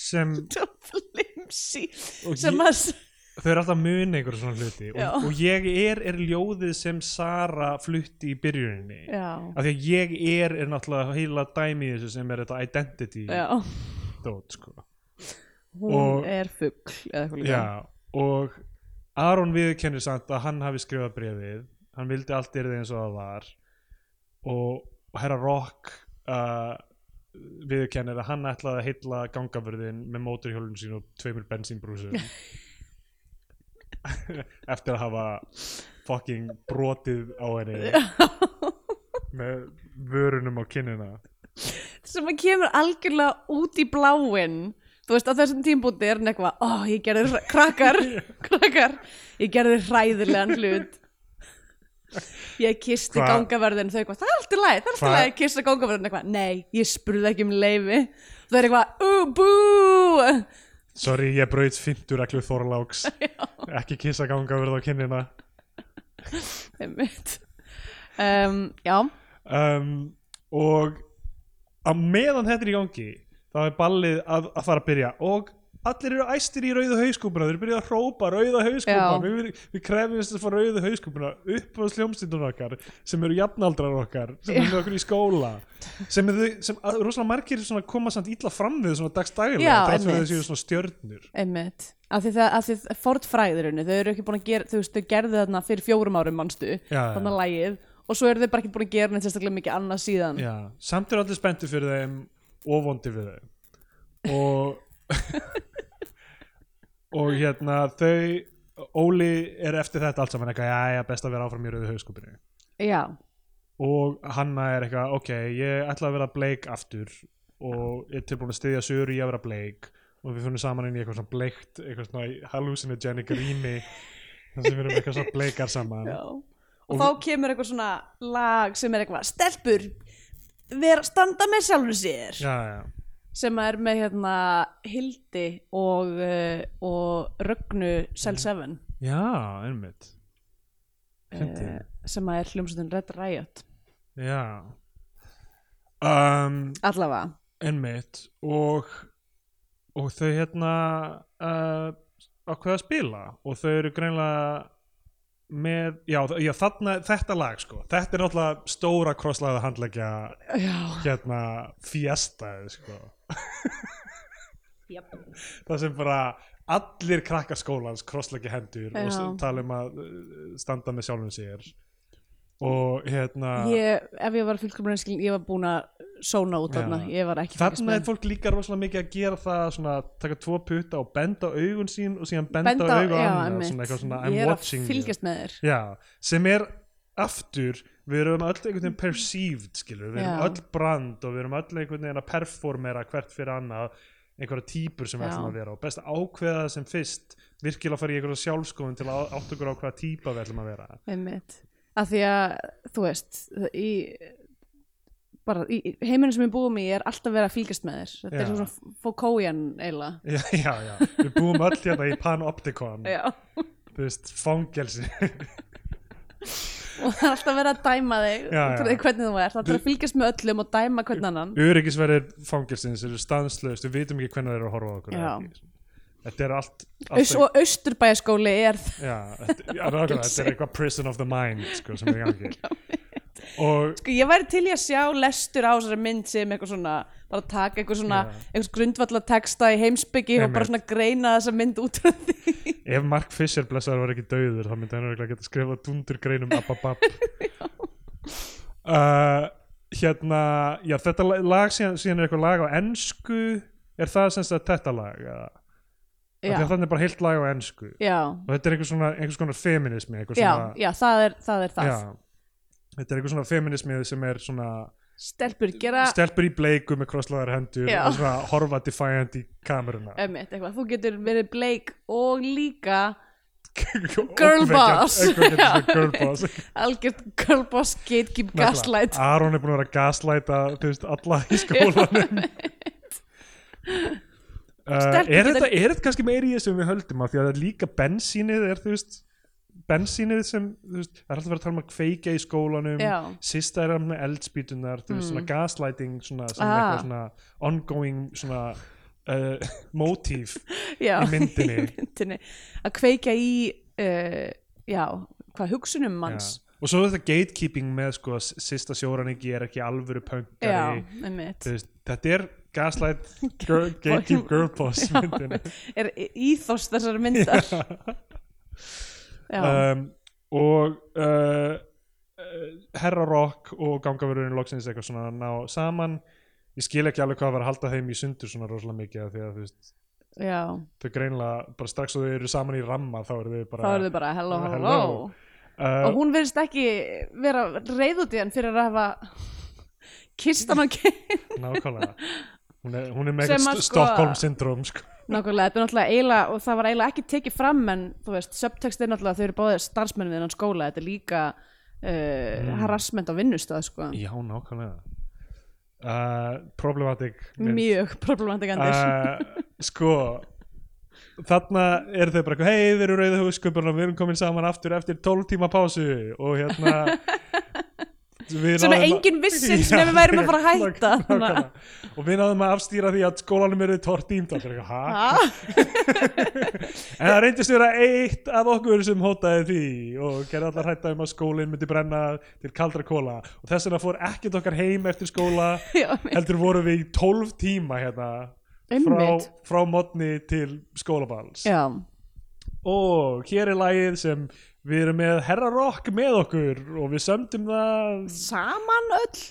sem
limsi
og
sem
ég,
að s-
þau eru alltaf mun einhver svona hluti og,
Já.
og ég er er ljóðið sem Sara flutti í byrjuninni
já,
af því að ég er er náttúrulega heila dæmi í þessu sem er þetta identity
já,
dót sko
hún
Og-
er fugl eða eitthvað líka
Já, og Aron viðurkennir samt að hann hafi skrifað brefið hann vildi allt yrði eins og það var og herra Rock uh, viðurkennir að hann ætlaði að heilla gangaförðin með móturhjólun sín og tveimur bensínbrúsum eftir að hafa fucking brotið á henni með vörunum á kinnina
sem að kemur algjörlega út í bláin þú veist á þessum tímbúti er hann eitthvað ó ég gerði hr- krakkar krakkar, ég gerði hræðilegan hlut ég kisti
Hva-
gangaverðin þau eitthvað, það er allt í lagi, það er allt í
Hva-
lagi að kissa gangaverðin eitthvað, nei, ég spurði ekki um leifi þau er eitthvað, ú, bú
Sorry, ég braut fintur reglu Þorláks ekki kissa gangaförð á kinnina
einmitt um, já,
um, og á meðan þetta er í gangi þá er ballið að, að fara að byrja og allir eru æstir í rauðu hauskúpuna þeir eru byrjað að hrópa rauða hauskúpuna
Já.
við, við, við krefjumst að fá rauðu hauskúpuna upp á sljómstindun okkar sem eru jafnaldrar okkar sem eru með okkur í skóla sem, er, þau- sem að, rosalega margir svona koma samt illa fram við svona dagstægilega
Já,
þrátt fyrir að
einmitt.
þau séu svona stjörnur
einmitt af því það, af því það- fornfræðirinu, þau eru ekki búin að gera þú veist, þau gerðu þarna fyrir fjórum árum manstu,
já.
þannig að lægið og svo eru þau bara ekki búin að gera neitt sérstaklega mikið annað síðan
Já, samt eru allir spennti fyrir þeim og vondi fyrir þeim og og hérna þau Óli er eftir þetta allt saman eitthvað, já, já, best að vera áfram í rauðu hauskupinu
já,
og Hanna er eitthvað, ok, ég ætla að vera bleik aftur og er tilbúin að styðja sögur í að vera bleik og við finnum saman inn í eitthvað svona bleikt eitthvað svona hallucinogenic rými þar sem við erum eitthvað svona bleikar saman
já. Og, þá kemur eitthvað svona lag sem er eitthvað stelpur vera standa með sjálfur sér
já, já,
sem er með hérna Hildi og, uh, og Rögnu Cell 7
já, einmitt Fyndið.
eh, sem að er hljómsveitin Red Riot
Já um,
allavega,
Einmitt og, og þau hérna uh, ákveða að spila og þau eru greinlega með, já, þ- já þarna, þetta lag sko, þetta er náttúrulega stóra krosslaða handleggja
já,
hérna fjestaði sko
Jöp.
það sem bara allir krakkar skólans krossleggja hendur og
Já.
s- tala um að uh, standa með sjálfum sér og hérna
ég, ef ég var fullkomlega einskilin, ég var búin að sóna út
Já.
þarna, ég var ekki að fylgjast
Þarna er
með.
fólk líka rosalega mikið að gera það svona, taka tvo putta og benda á augun sín og síðan benda,
Benda
á
á-
augun
já,
annað,
einmitt.
svona eitthvað svona I'm
ég er að
watching you.
fylgjast með þér
Já, sem er aftur, við erum öll einhvern veginn perceived, skilur, við erum
Já.
öll brand og við erum öll einhvern veginn að performera hvert fyrir annað einhverja típur sem við
Já.
ætlum að vera og best að ákveða það sem fyrst virkilega fara í einhverja sjálfskoðun til að átt okkur á hvaða típa við ætlum að vera
einmitt, af því að þú veist í, bara, í í heiminum sem við búum í er alltaf verið að fylgjast með þér þetta
Já.
er svona fókójan eiginlega
Já, já, já, við búum öll hérna í panoptikon,
Já.
þú veist, fangelsi
og það er alltaf verið að dæma þig
Já,
út frá
já.
því hvernig þú er, það er að fylgjast með öllum og dæma hvern annan
öryggisverðir fangilsins eru stanslaust, við vitum ekki hvernig þeir eru að horfa á okkur
Já.
eða ekki. þetta er allt, allt
Öss og austurbæjaskóli er
já, þetta, já, nákvæmlega, þetta er eitthvað prison of the mind sko, sem er í gangi og
Sko, ég væri til í að sjá lestur á þessari mynd sem eitthvað svona, bara taka eitthvað svona
Já.
eitthvað grundvalla texta í heimsbyggi og
Einmitt.
bara svona greina þessa mynd út frá því
ef Mark Fisher blessaður var ekki dauður þá myndi hann örugglega geta skrifað dundurgrein um Ababab uh, hérna já þetta la- lag síðan, síðan er eitthvað lag á ennsku er það sem sagt þetta lag eða? Af því
Já,
að þannig er bara heilt lag á ennsku
já,
og þetta er einhvers, svona, einhvers konar feminismi einhvers
já,
svona,
já, það er það, er það.
þetta er einhvers svona feminismi sem er svona
Stelpur gera
stelpur í bleiku með krosslaðar hendur
Já.
og svona horfa defiant í kameruna
ömmit eitthvað, þú getur verið bleik og líka
Ógnvekjandi-
boss.
ógnvekjandi
Já.
svona girl boss
algjört girlboss, gatekeep,
Nefnilega.
gaslight
Aron er búin að vera að gaslæta þú veist, alla í skólanum uh,
Stelpur
er,
geta-
þetta, er þetta kannski meiri í þessu en við höldum á því að það er líka bensínið er þú veist bensínið sem, þú veist, það er alltaf verið að tala um að kveika í skólanum,
Já. Mm.
sista er hann með eldspýtunar, þú veist, svona gaslighting svona, sem
Ah.
eitthvað svona ongoing svona uh, motíf
já,
í myndinni.
í myndinni. að kveika í uh, já, hvað hugsunum manns
og svo er þetta gatekeeping með sko, að sista sjóraningi er ekki alvöru
já,
pöngari
ömmit
Þú veist, þetta er gaslight girl, gatekeep girl boss myndin
er íþoss þessar myndar já,
um, og uh, uh, Herra Rock og gangavörurinn loksins eitthvað svona ná saman ég skil ekki alveg hvað var að halda þeim í sundur svona rosalega mikið af því að þú veist
já,
þau greinlega bara strax og þau eru saman í ramma þá eru þau
þá
bara uh,
eru þau bara hello, hello,
Hello.
og hún verðist ekki vera reyð út í hann fyrir að hafa kist hann á kyn
nákvæmlega hún er, hún er með
Sem
eitthvað
að
st-
sko-
Stockholm syndrom sko.
Nákvæmlega, þetta er náttúrulega eiginlega og það var eiginlega ekki tekið fram en þú veist, subtext er náttúrulega að þau eru báðið starfsmennin innan skóla, þetta er líka uh, harassment á vinnustöð sko.
já nákvæmlega uh, problematic mynd.
mjög problematikandi uh,
uh, sko þarna eru þau bara eitthvað, hei við erum rauða húskumpurna við erum komin saman aftur eftir 12 tíma pásu og hérna við
sem
náðum
er
að-
engin vissins
Já,
sem við værum að fara að
nák-
hætta þannig að-
nákvæmlega. og við náðum að afstýra því að skólanum eru tortýmt og það er eitthvað, hæ?
Ha?
En það reyndist vera eitt af okkur sem hótaði því og gerði allar hætta um að skólinn myndi brenna til kaldra kóla og þess vegna fór ekkert okkar heim eftir skóla
Já, einmitt.
heldur vorum við í 12 tíma hérna frá,
Einmitt.
frá modni til skólaballs
Já,
og hér er lagið sem við erum með Herra Rock með okkur og við sömdum það
saman öll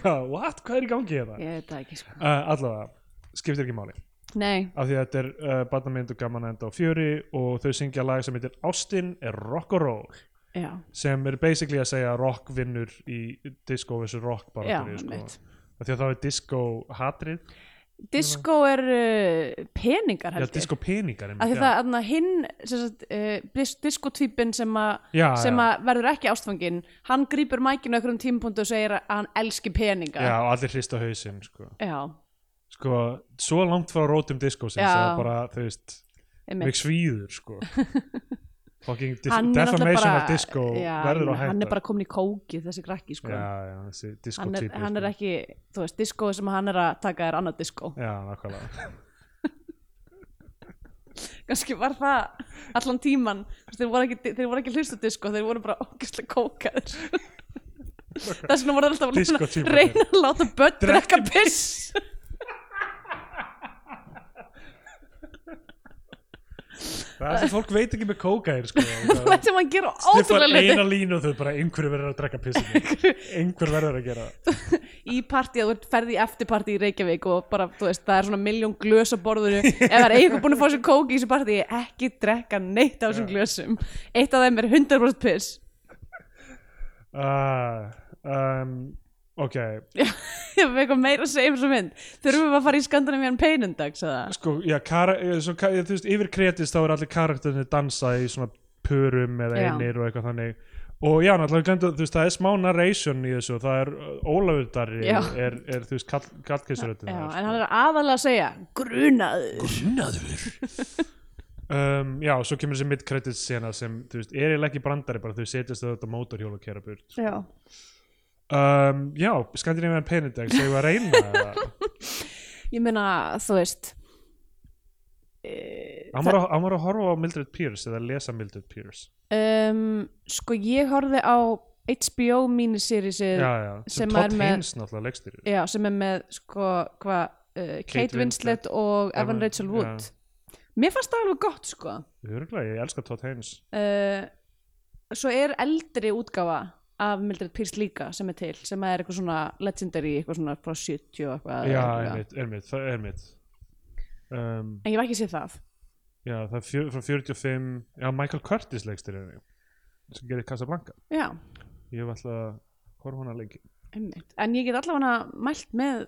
hvað, what, hvað er í gangi hérna?
ég veit það ekki sko
Uh, allavega, skiptir ekki máli
Nei,
af því að þetta er uh, barnamynd og gaman að enda á fjöri og þau syngja lag sem heitir Austin er rock og roll
já,
sem er basically að segja að rock vinnur í disco versus rock bara
já,
sko.
mitt
af því að þá er disco hatrið
Disco er uh, peningar
já,
held ég
disco peningar
Af því
já.
það, þarna, hinn, sem sagt, uh, diskotvípin sem að
já,
sem
já.
að verður ekki ástfangin hann grýpur mækinu okkur um tímapunktu og segir að hann elski peninga
já, og allir hrista hausinn sko.
já
sko, svo langt frá rótum disco sem
Já.
það bara, þú veist
einmitt.
mjög svíður sko. fucking dif-
Hann er náttúrulega
defamation
bara-
of disco
já,
verður
ég
að
meina, hann er
hætta
bara komin í kóki þessi krakki sko.
já, já, þessi disco
hann, er,
típi,
hann er
sko.
ekki, þú veist, disco sem hann er að taka er annað disco
já, nákvæmlega
kannski var það allan tíman Þú veist, þeir voru ekki, þeir voru ekki hlustu disco þeir voru bara ógæslega kókaðir þess vegna voru þeir alltaf að
Disco-tímarnir.
reyna að láta börn
Drekki
drekka piss
það er sem fólk veit ekki með kókaðir sko. Það-
þetta sem hann gera
Þau fara
ótrúlega hluti
eina línu og þau bara einhverju verður að drekka pissinu einhver verður að gera það.
í partí að þú ferði í eftirpartí í Reykjavík og bara, þú veist, það er svona miljón glös á borðinu, ef það er einhver búin að fá sér kók í þessu partí, ekki drekka neitt af þessum glösum, eitt af þeim er 100% piss
uh, um, ok
ég hef eitthvað meira að segja um þessu mynd þurfum við að fara í skandinavíðan peinundags eða?
sko, já, kara, eh, svo, ka- þú veist, yfir kredist þá er allir karakterinni dansa í svona purum eða
Já.
einir og eitthvað þannig og já, náttúrulega, glemdu, þú veist, það er smá narration í þessu, það er uh, Ólafur Darri
Já.
er, er, þú veist, kall, kallkissaröttin
Já, en hann er aðalega að segja grunaður
Grunnaður um, Já, svo kemur þessi mid-credits sena sem, þú veist, er eiginlega ekki brandari bara þau setjast á þetta mótorhjól og kera burt
Já.
um, Já, Skandinavian Penindex, þegar við að reyna það
ég meina, þú veist eh,
Hann var að- hann var að horfa á Mildred Pierce eða lesa Mildred Pierce
um, sko ég horfði á HBO miniserísið
já, já,
Eh, sem
sem
er
Todd
með-
Haynes náttúrulega leikstýrir
já, sem er með sko, hva, uh, Kate, Winslet,
Winslet
og Evan
Evan-
Rachel Wood mér fannst það alveg gott sko
Örgulega, ég elska Todd Haynes
uh, svo er eldri útgáfa af Mildred Pierce líka sem er til sem er eitthvað svona legendary eitthvað svona frá 70 og eitthvað
Já,
eitthvað.
einmitt, einmitt, það er einmitt um,
en ég var ekki séð það
Já, það er fjör, frá 45 Já, Michael Curtis leikstýrir henni sem gerir Casablanca
já,
Ég hef alltaf að horfa á hana lengi
einmitt. en ég get allavega mælt með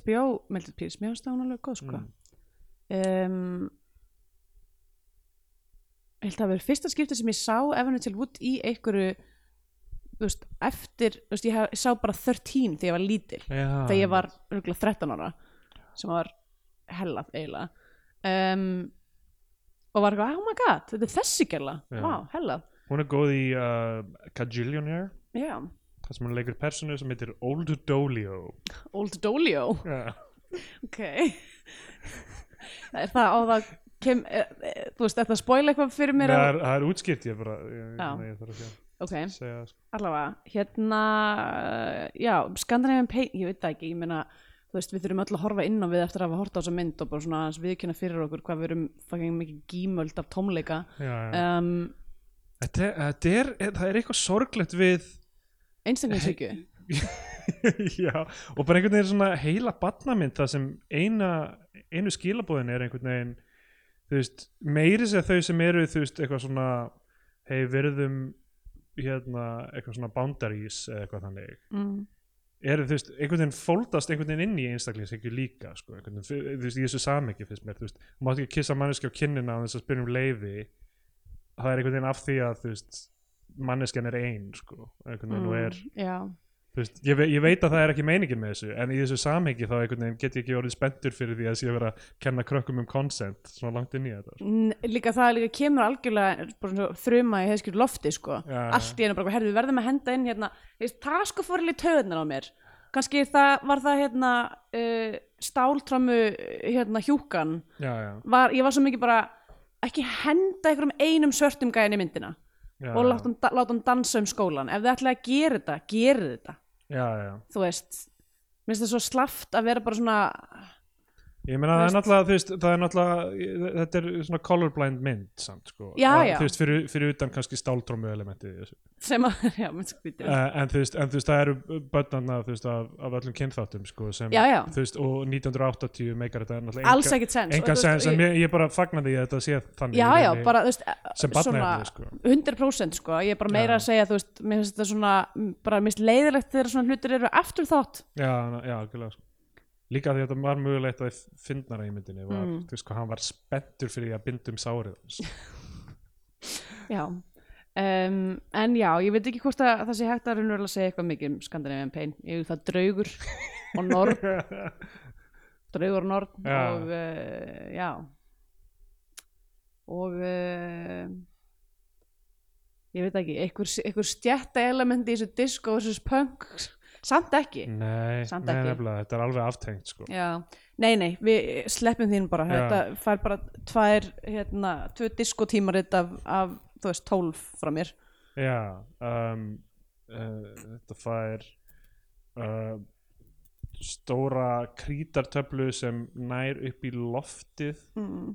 HBO Mildred Pierce, mér finnst það hún alveg góð sko
Mm.
um, ég held að það verið fyrsta skipti sem ég sá Evan Rachel Wood í einhverju þú veist, eftir, þú veist, ég hef, sá bara 13 þegar ég var lítil
já,
þegar ég var örgulega 13 ára sem var hellað eiginlega um, og var eitthvað, oh my god, þetta er þessi gerla
Já.
vá, hellað,
Hún er góð í uh, Cajillionaire
já,
það sem hún leikur personu sem heitir Old Dolio
old dolio
Já,
ok er það á það kem, er, er, þú veist, er það að spoila eitthvað fyrir mér
það
að-
er, það er útskýrt ég bara ég, ég,
Já.
ég þarf ekki
ok,
að segja sko.
allavega, hérna já, Scandinavian Pain, ég veit það ekki ég meina, þú veist, við þurfum öll að horfa inn á við eftir að hafa horta á þessa mynd og bara svona aðeins viðkynna fyrir okkur hvað við erum fucking mikið gímöld af tómleika
já, já.
um,
Þetta, er- þetta er, það er eitthvað sorglegt við
einstaklingshyggju
já, og bara einhvern veginn svona heila batnamynd það sem eina, einu skilabóðin er einhvern veginn þú veist, meiri sér þau sem eru þú veist, eitthvað svona hei, verðum hérna, eitthvað svona boundaries eða eitthvað þannig
mm.
eru, þú veist, einhvern veginn fóldast einhvern veginn inn í einstaklingshyggju líka sko, einhvern veginn, þú veist, í þessu samhengi finnst mér, þú veist, þú mátt ekki kissa manneski á kinnina á þess að spyrja um leiði það er einhvern veginn af því að, þú veist manneskjan er ein, sko einhvern veginn og
Mm.
er
já,
Þú veist, ég, ve ég veit að það er ekki meiningin með þessu en í þessu samhengi þá einhvern veginn get ég ekki orðið spendur fyrir því að sé að vera að kenna krökkum um consent svona langt inn í þetta sko.
N- líka það líka kemur algjörlega bara svona þruma í heiskjur lofti sko.
Já.
allt í einu bara, herðu, við verðum að henda inn hérna, þú veist, það sko fór alveg töðunar á mér kannski það, var það hérna uh, stáltramu hérna hjúkan
já, já,
var, ég var svo mikið bara ekki henda einhverjum einum svörtum gæðin í myndina
já,
og láta hann, da- láta hann dansa um skólan ef þið ætlaði að gera þetta, gera þetta
já, já.
þú veist, minnst það svo slaft að vera bara svona
ég meina
Þú
það
veist-
er náttúrulega, þú veist, það er náttúrulega þetta er svona colorblind mynd samt sko,
Já,
Að,
já.
þú veist, fyrir, fyrir utan kannski stáltrómu elementið í þessu
sem að, já, minnst skvítið
uh, en, þú veist, en þú veist, það eru bönnarna þú veist, af, af öllum kynþáttum sko, sem,
Já, já.
þú veist, og 1980 meikar þetta náttúrulega
alls ekkert sens og
engan
þú veist,
sens,
og
en
ég-
ég, ég bara fagna því að þetta sé þannig
já,
í
já,
rauninni
bara, þú veist
sem barnaefni, sko.
100% sko, ég er bara
Já.
meira að segja þú veist, mér finnst þetta svona, m, bara mér finnst leiðilegt þegar svona hlutir eru aftur þátt
Já, na- já, algjörlega sko. Líka því að þetta var mögulegt að finnara í myndinni var,
Mm.
þú veist hvað, hann var spenntur fyrir því að binda um sárið hans.
já um, en já, ég veit ekki hvort að það sé hægt að raunverulega segja eitthvað mikið um Scandinavian Pain ég vil það draugur og norn draugur og norn
Já.
og uh, já og uh, ég veit ekki einhver, einhver stjætta element í þessu disco versus punk samt ekki
Nei,
Samt
nei,
ekki.
nefnilega, þetta er alveg aftengt sko.
Já, nei, nei, við sleppum þín bara,
Já.
þetta fær bara tvær, hérna, tvö diskotímarit af, af, þú veist, tólf frá mér.
Já, um, uh, þetta fær uh, stóra krítartöflu sem nær upp í loftið.
Mm.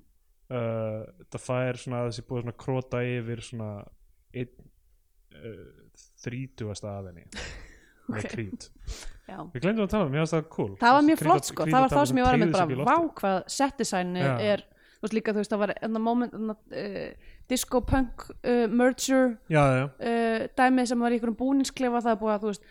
Uh, þetta fær svona þessi búið svona krota yfir svona einn uh, þrítugasta aðinni. Með
Ok.
krít.
Já.
Við glemdum að tala um, mér finnst það cool
Það var
Þessi
mjög
kríta-
flott, sko, það var það
krítatafla
sem ég var að
teygði
mynd
sig upp um í
bara,
loftið.
vá hvað set-designi
Já.
er, þú veist líka, þú veist, það var enna moment, enna, uh, disco-punk uh, merger
Já, já,
uh, dæmið sem var í einhverjum búningsklefa, það er búið að, þú veist,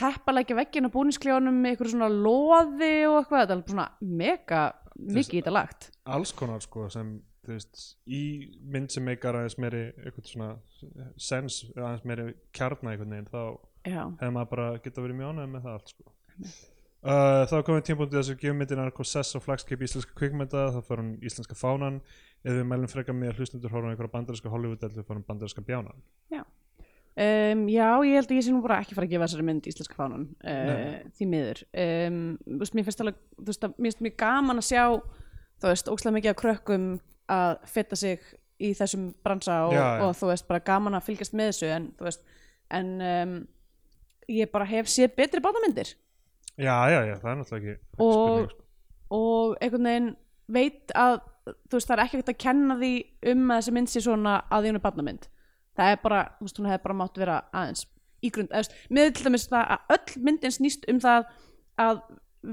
teppalækja veggin á búningsklefanum með einhverjum svona loði og eitthvað, þetta er alveg svona mega mikið í þetta lagt.
alls konar sko sem, þú veist, í mynd sem meikar aðeins meiri eitthvað svona sens, aðeins meiri kjarna einhvern veginn, þá
Já,
hefði maður bara geta verið mjög ánægð með það allt sko Uh, þá komum við tímpúntið þess að við gefum myndin Arko Sess og flagskip íslenska kvikmynda þá fór hún íslenska fánan ef við mælum frekar með að hlustundur horfum einhverja bandarinska Hollywood eða við fórum bandarinska bjánan
Um, já, ég held að ég sé nú bara ekki fara að gefa þessari mynd íslenska fánan uh, því miður um, þú veist, mér finnst alveg þú veist, að, mér finnst mjög gaman að sjá þú veist, ókslega mikið af krökkum að feta sig í þessum bransa og,
Já, já.
og þú veist, bara gaman að fylgjast með þessu en þú veist, en um, ég bara hef séð betri bátamyndir
já, já, já, það er náttúrulega ekki, ekki
Og-
spurning sko.
og einhvern veginn veit að þú veist, það er ekki hægt að kenna því um að þessi mynd sé svona að því hún er barnamynd það er bara, þú veist, hún hefði bara mátt vera aðeins ígrund, eða þú veist, með til dæmis það að öll myndin snýst um það að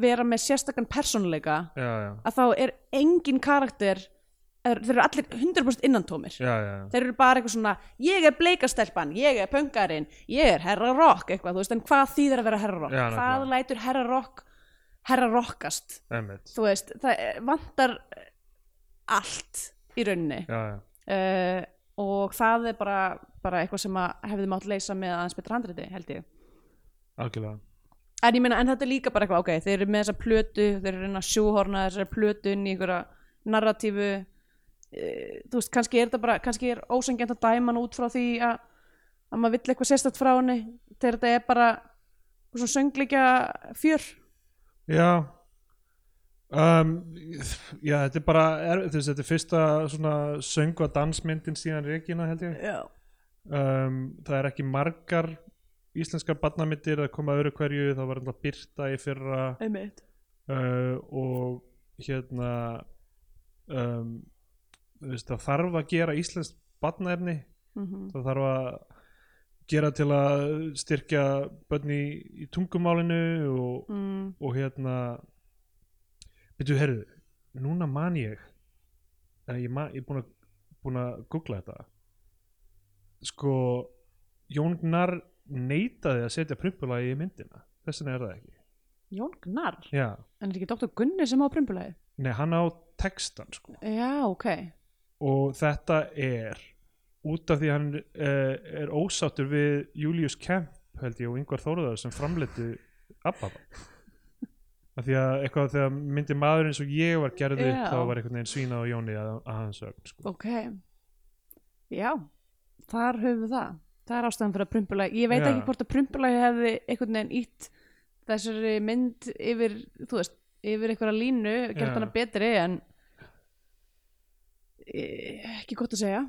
vera með sérstakann persónuleika
já, já,
að þá er engin karakter er, þeir eru allir 100% innantómir
já, já, já.
þeir eru bara eitthvað svona ég er bleikastelpan, ég er pöngarinn ég er herra rock, eitthvað, þú veist, en hvað þýðir að vera herra rock,
Já,
hvað
nákvæmlega.
lætur herra rock herra rockast
einmitt
þú veist, það eh, vantar eh, allt í rauninni
já, já,
uh, og það er bara, bara eitthvað sem að hefði mátt leysa með aðeins betra handriti, held ég
algjörlega
en ég meina, en þetta er líka bara eitthvað, ok, þeir eru með þessa plötu þeir eru að reyna að sjúhorna þessari plötu inn í einhverja narratífu uh, þú veist, kannski er þetta bara kannski er ósengjant að dæma hann út frá því að, að maður vill eitthvað sérstætt frá henni þegar þetta er bara svona söngleikja fjör
Já um, Já, þetta er bara er, þú veist, þetta er fyrsta svona söngu og dansmyndin síðan Regina held ég
Já.
um, Það er ekki margar íslenskar barnamyndir að koma öðru hverju þá var þetta Birta í fyrra
einmitt
uh, og hérna um, þú veist, það þarf að gera íslensk barnaefni
mm
það þarf að gera til að styrkja börni í tungumálinu og,
mm.
og hérna byrju, herru, núna man ég en ég, man, ég er búin að, búin að googla þetta sko Jón Gnarr neitaði að setja prumpulagi í myndina þess vegna er það ekki
Jón Gnarr
Já.
En er ekki Dr. Gunni sem á prumpulæði?
Nei, hann á textan sko
Já, ok.
og þetta er út af því hann uh, er ósáttur við Julius Kemp held ég og yngvar Þóruðar sem framleitu Abba af því að eitthvað þegar myndi maður eins og ég var gerði
Já.
yeah. þá var einhvern veginn svínað á Jóni að, að hans ögn sko.
Ok. Já, þar höfum við það. Það er ástæðan fyrir að prumpulæði. Ég veit
Já.
ekki hvort að prumpulæði hefði einhvern veginn ítt þessari mynd yfir, þú veist, yfir einhverja línu, gert
Já.
hana betri en Eh, ekki gott að segja.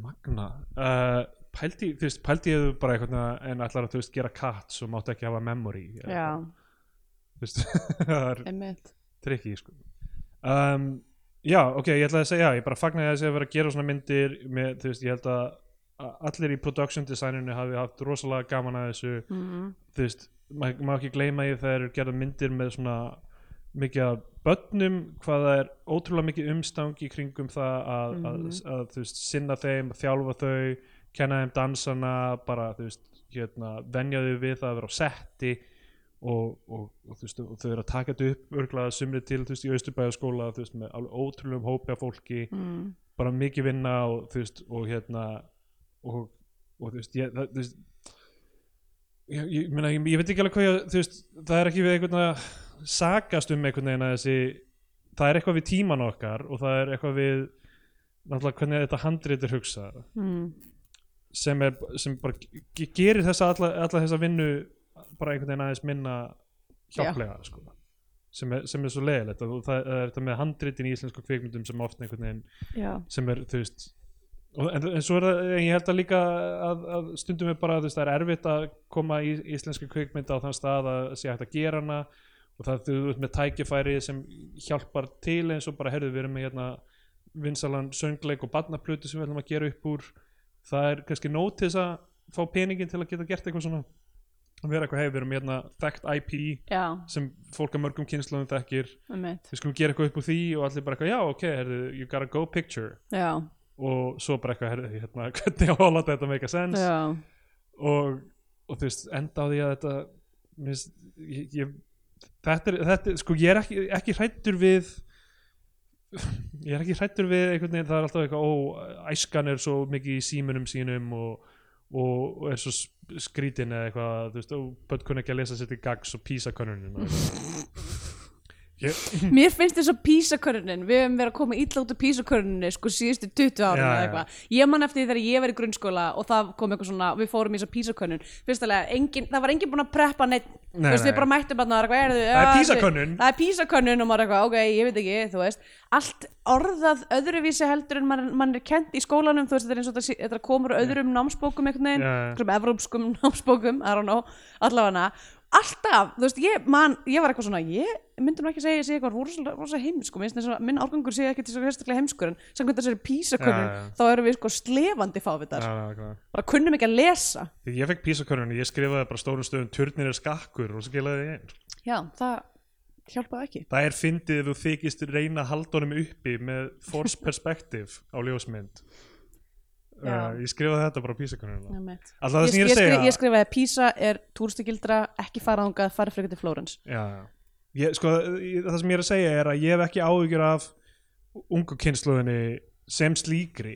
Magna uh, pældi, þú veist, pældi ég þau bara einhvern veginn en allar að þú veist gera cut svo máttu ekki hafa memory eða
Já,
eitthvað, þú veist, það er
emmitt.
trikki sko. um, já, ok, ég ætlaði að segja já, ég bara fagnaði að þessi að vera að gera svona myndir með, þú veist, ég held að að allir í production designinu hafi haft rosalega gaman að þessu
Mm -hmm.
þú veist, maður má ekki gleyma í það eru gerða myndir með svona mikið að börnum, hvað það er ótrúlega mikið umstangi kringum það að, að,
Mhm.
að þú veist, sinna þeim þjálfa þau, kenna þeim dansana bara, þú veist, hérna venja þau við það að vera á setti og, og, og þú veist, og þau eru að taka þetta upp örglaða sumri til, þú veist, í austurbæðaskóla þú veist, með alveg ótrúlegum hópi af fólki
Mm.
bara mikið vinna og þú veist og hérna og, og þú veist ég, það, þú veist ég, ég, meina, ég, ég veit ekki alveg hvað ég, þú veist það er ekki við einhvern að sakast um einhvern veginn að þessi það er eitthvað við tíman okkar og það er eitthvað við náttúrulega hvernig þetta handrit er hugsað
Mm.
sem, er, sem bara ge- gerir þessa alla, alla þessa vinnu bara einhvern veginn aðeins minna hjálplega sko. sem, er, sem er svo leiðilegt og það, það er þetta með handritin í íslensku kvikmyndum sem oft einhvern veginn
Já.
sem er þú veist og, en, en svo er það, en ég held að líka að, að stundum er bara, þú veist, það er erfitt að koma í íslenska kvikmynda á þann stað að sé hægt að gera hana og það þú veist með tækifæri sem hjálpar til eins og bara, heyrðu, við erum með hérna vinsalan söngleik og barnaplutu sem við ætlum að gera upp úr það er kannski nót til þess að fá peningin til að geta gert eitthvað svona að vera eitthvað, hey, við erum með hérna þekkt IP
Já,
sem fólk af mörgum kynnslóðum þekkir
emmitt.
við skulum gera eitthvað upp úr því og allir bara eitthvað, já, ok, heyrðu, you gotta go picture
Já,
og svo bara eitthvað herði, hérna, hvernig á að láta þetta make a sense
já.
og, og þú veist, enda á því að þetta minnst, ég, ég, þetta, er, þetta er, sko ég er ekki, ekki hrættur við ég er ekki hrættur við einhvern veginn, það er alltaf eitthvað ó, æskan er svo mikið í símunum sínum og, og, og er svo s- skrítin eða eitthvað, þú veist, og börn kunna ekki að lesa sér til gags og písa könnunum Ég,
Mér finnst þess að písakörnin, við hefum verið að koma illa út af písakörninni sko síðustu 20 ára
Já,
eða
já.
eitthvað. Ég man eftir því þegar ég var í grunnskóla og það kom eitthvað svona, við fórum í þess að písakörnun. Fyrst alveg, engin, það var engin búin að preppa neitt,
Nei,
þú veist,
nei.
við bara mættum bara eitthvað, er,
Það er PISA-könnun.
Það er písakörnun og maður eitthvað, ok, ég veit ekki, þú veist. Allt orðað öðruvísi heldur en mann man er kent í skólanum, þú veist, þetta er eins og þetta sé- þetta komur öðrum námsbókum einhvern veginn,
Já, já.
einhverjum evrópskum námsbókum, I don't know, allavega alltaf, þú veist, ég man, ég var eitthvað svona, ég myndi nú ekki segja, ég sé eitthvað rosa, rosa sko, heimsku, minnst þess að minn árgangur sé ekki til þess að hérstaklega heimskur, en samkvæmt þessari písakunnum,
Já, já.
þá erum við sko slefandi fávitar,
já, nákvæmlega.
bara kunnum ekki að lesa.
Þegar ég fekk písakörnun, ég skrifaði bara stórum stöðum turnir er skakkur og svo gelaði ég einn.
Já, það hjálpaði ekki.
Það er fyndið ef þú þykist reyna að halda honum uppi með force perspective á ljósmynd.
Já.
Uh, ég skrifaði þetta bara á písakonuna.
Ég, ég,
Alltaf það sem ég er
ég,
að segja.
skri, ég skrifaði að Písa er túrstugildra, ekki fara þangað, fara frekar til Flórens.
Já, já. Ég, sko, ég, það sem ég er að segja er að ég hef ekki áhyggjur af ungu kynsluðinni sem slíkri.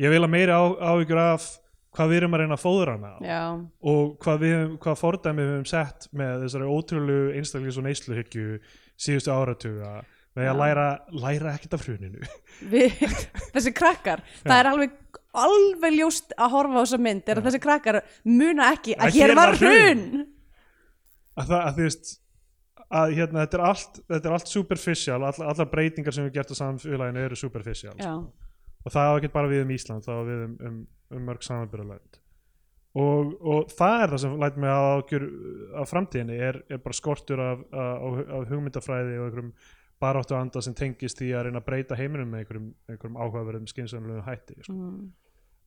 Ég vil að meira á, áhyggjur af hvað við erum að reyna að fóðra hana á
Já,
og hvað, við, höfum- hvað fordæmi við höfum sett með þessari ótrúlu einstaklings og neysluhyggju síðustu áratuga með að
Já.
læra, læra ekkert af hruninu.
við, þessi krakkar það er alveg alveg ljóst að horfa á þessa mynd er að þessi krakkar muna ekki að, hér var hrun
að það, að þú veist að hérna, þetta er allt, þetta er allt superficial all, allar breytingar sem við gert á samfélaginu eru superficial
já,
og það á ekki bara við um Ísland, það á við um, um, um mörg samanbyrðalönd og, og það er það sem læt mig að ágjör af framtíðinni er, er bara skortur af, af, af hugmyndafræði og einhverjum baráttu anda sem tengist því að reyna að breyta heiminum með einhverjum, einhverjum áhugaverðum skynsamlegu hætti sko.
mm,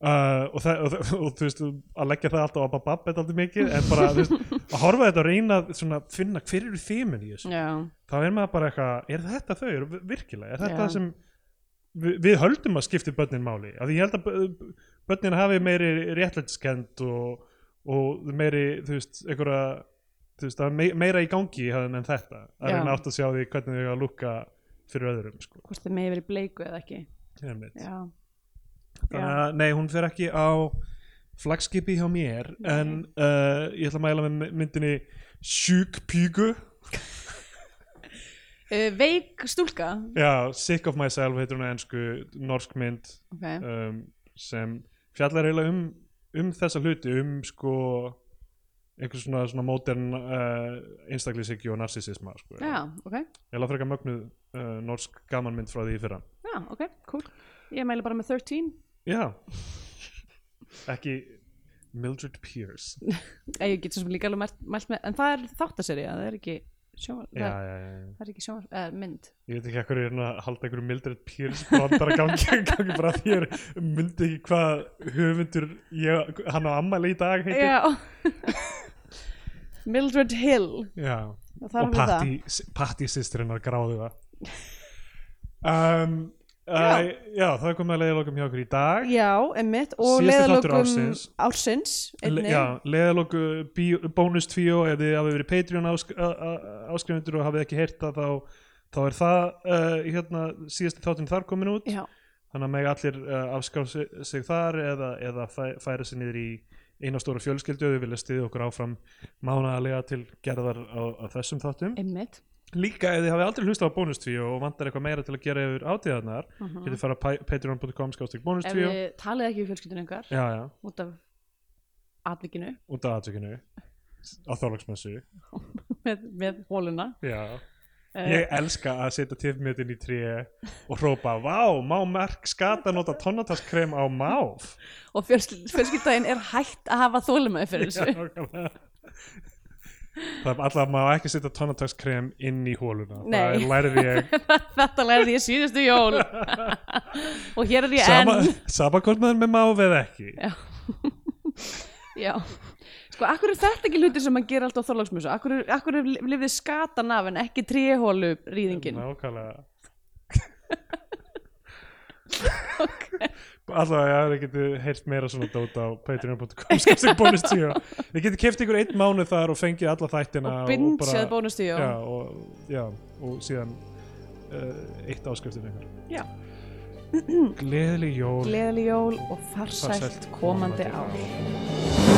uh, og, það, og, það- og þú veist að leggja það alltaf á babab er alltaf mikið en bara þú veist, að horfa á þetta og reyna að svona, finna hver eru þeimin í þessu
já,
þá er maður bara eitthvað, er þetta þau eru virkilega, er þetta
Já.
það sem við, við höldum að skipti börnin máli af því ég held að bö- börnin hafi meiri réttlætiskend og, og meiri, þú veist, einhverja þú veist, það er mei- meira í gangi í hafðin en þetta, að
Já.
reyna átt að sjá því hvernig þau eiga að lúka fyrir öðrum sko.
hvort þið megi verið bleiku eða ekki
Einmitt.
já,
Þannig að, nei, hún fer ekki á flagskipi hjá mér en uh, ég ætla að mæla með myndinni Sjúk Pígu
uh, veik stúlka
Já, Sick of Myself heitir hún á ennsku, norsk mynd
okay.
um, sem fjallar eiginlega um, um þessa hluti, um sko einhvers svona, svona modern uh, einstaklishyggju og narsisisma sko.
já, ok,
Ég laði frekar mögnuð uh, norsk gamanmynd frá því í fyrra
já, ok, cool ég mæli bara með 13
Já Ekki Mildred Pierce
Eh, ég get svo sem líka alveg mælt, mælt með en það er þáttaseri, það er ekki sjóvar,
Já,
það,
já, já, já
það er ekki sjóvar, uh, mynd
Ég veit ekki hvað er hérna að halda einhverju Mildred Pierce brandar að gangi, gangi bara því ég er- myndi ekki hvað höfundur ég, hann á ammæli í dag heitir.
já Mildred Hill
Já.
og það
Og
er alveg það
Patti, Patti sýsturinn að gráðu það. Um, uh,
Já.
já, það er komið að leiðalokum hjá okkur í dag.
Já, emmitt og
Síðasti þáttur
leiðalokum
ársins.
ársins, ársins
Le,
einnig.
já, leiðaloku bónus 2 ef þið hafið verið Patreon ásk áskrifundur og hafið ekki heyrt það þá, þá er það uh, hérna, síðasti þáttinn þar komin út.
Já,
þannig að megi allir uh, afskrá sig, sig þar eða, eða fæ, færa sig niður í eina stóra fjölskyldu ef við vilja stiðja okkur áfram mánaðarlega til gerðar á, á þessum þáttum
einmitt
líka ef þið hafið aldrei hlustað á bónustvíu og vantar eitthvað meira til að gera yfir átíðarnar uh -huh. getið fara á pa- patreon.com skástík
Mhm. Ef
bónustvíu
við talið ekki við fjölskyldunum ykkar
já, já,
út af atvikinu
út af aðtökinu á þorlagsmessu
með, með hóluna
já
Eh,
Ég elska að setja tifmjötin í tré og hrópa, vá, má merk skata nota tonnataskrem á máf
og fjölskyld, fjölskyldaðin er hætt að hafa þólimaði fyrir
Já,
þessu
nákvæmlega. Það er alltaf að maður á ekki setja tonnatökskrem inn í hóluna Það
Nei.
er lærið ég
Þetta lærði ég síðustu jól og hér er ég
sama,
enn
sama hvort maður er með máf eða ekki
Já. Já Sko, akkur er þetta ekki hlutir sem maður gerir alltaf á þorlagsmjössu? Akkur, akkur er lifið skatan af en ekki tréhólu rýðingin?
Nákvæmlega
Ok.
Alltaf að það getið heyrt meira svona dót á patreon.com skapstig sko, bónus 10 Þið getið keft ykkur einn mánu þar og fengið alla þættina
og
bara-
bingeað bónustíu
já, og, já, og síðan uh, eitt áskriftin ykkur
Já.
Gleðileg jól
Gleðileg jól og farsælt komandi ár.
ár.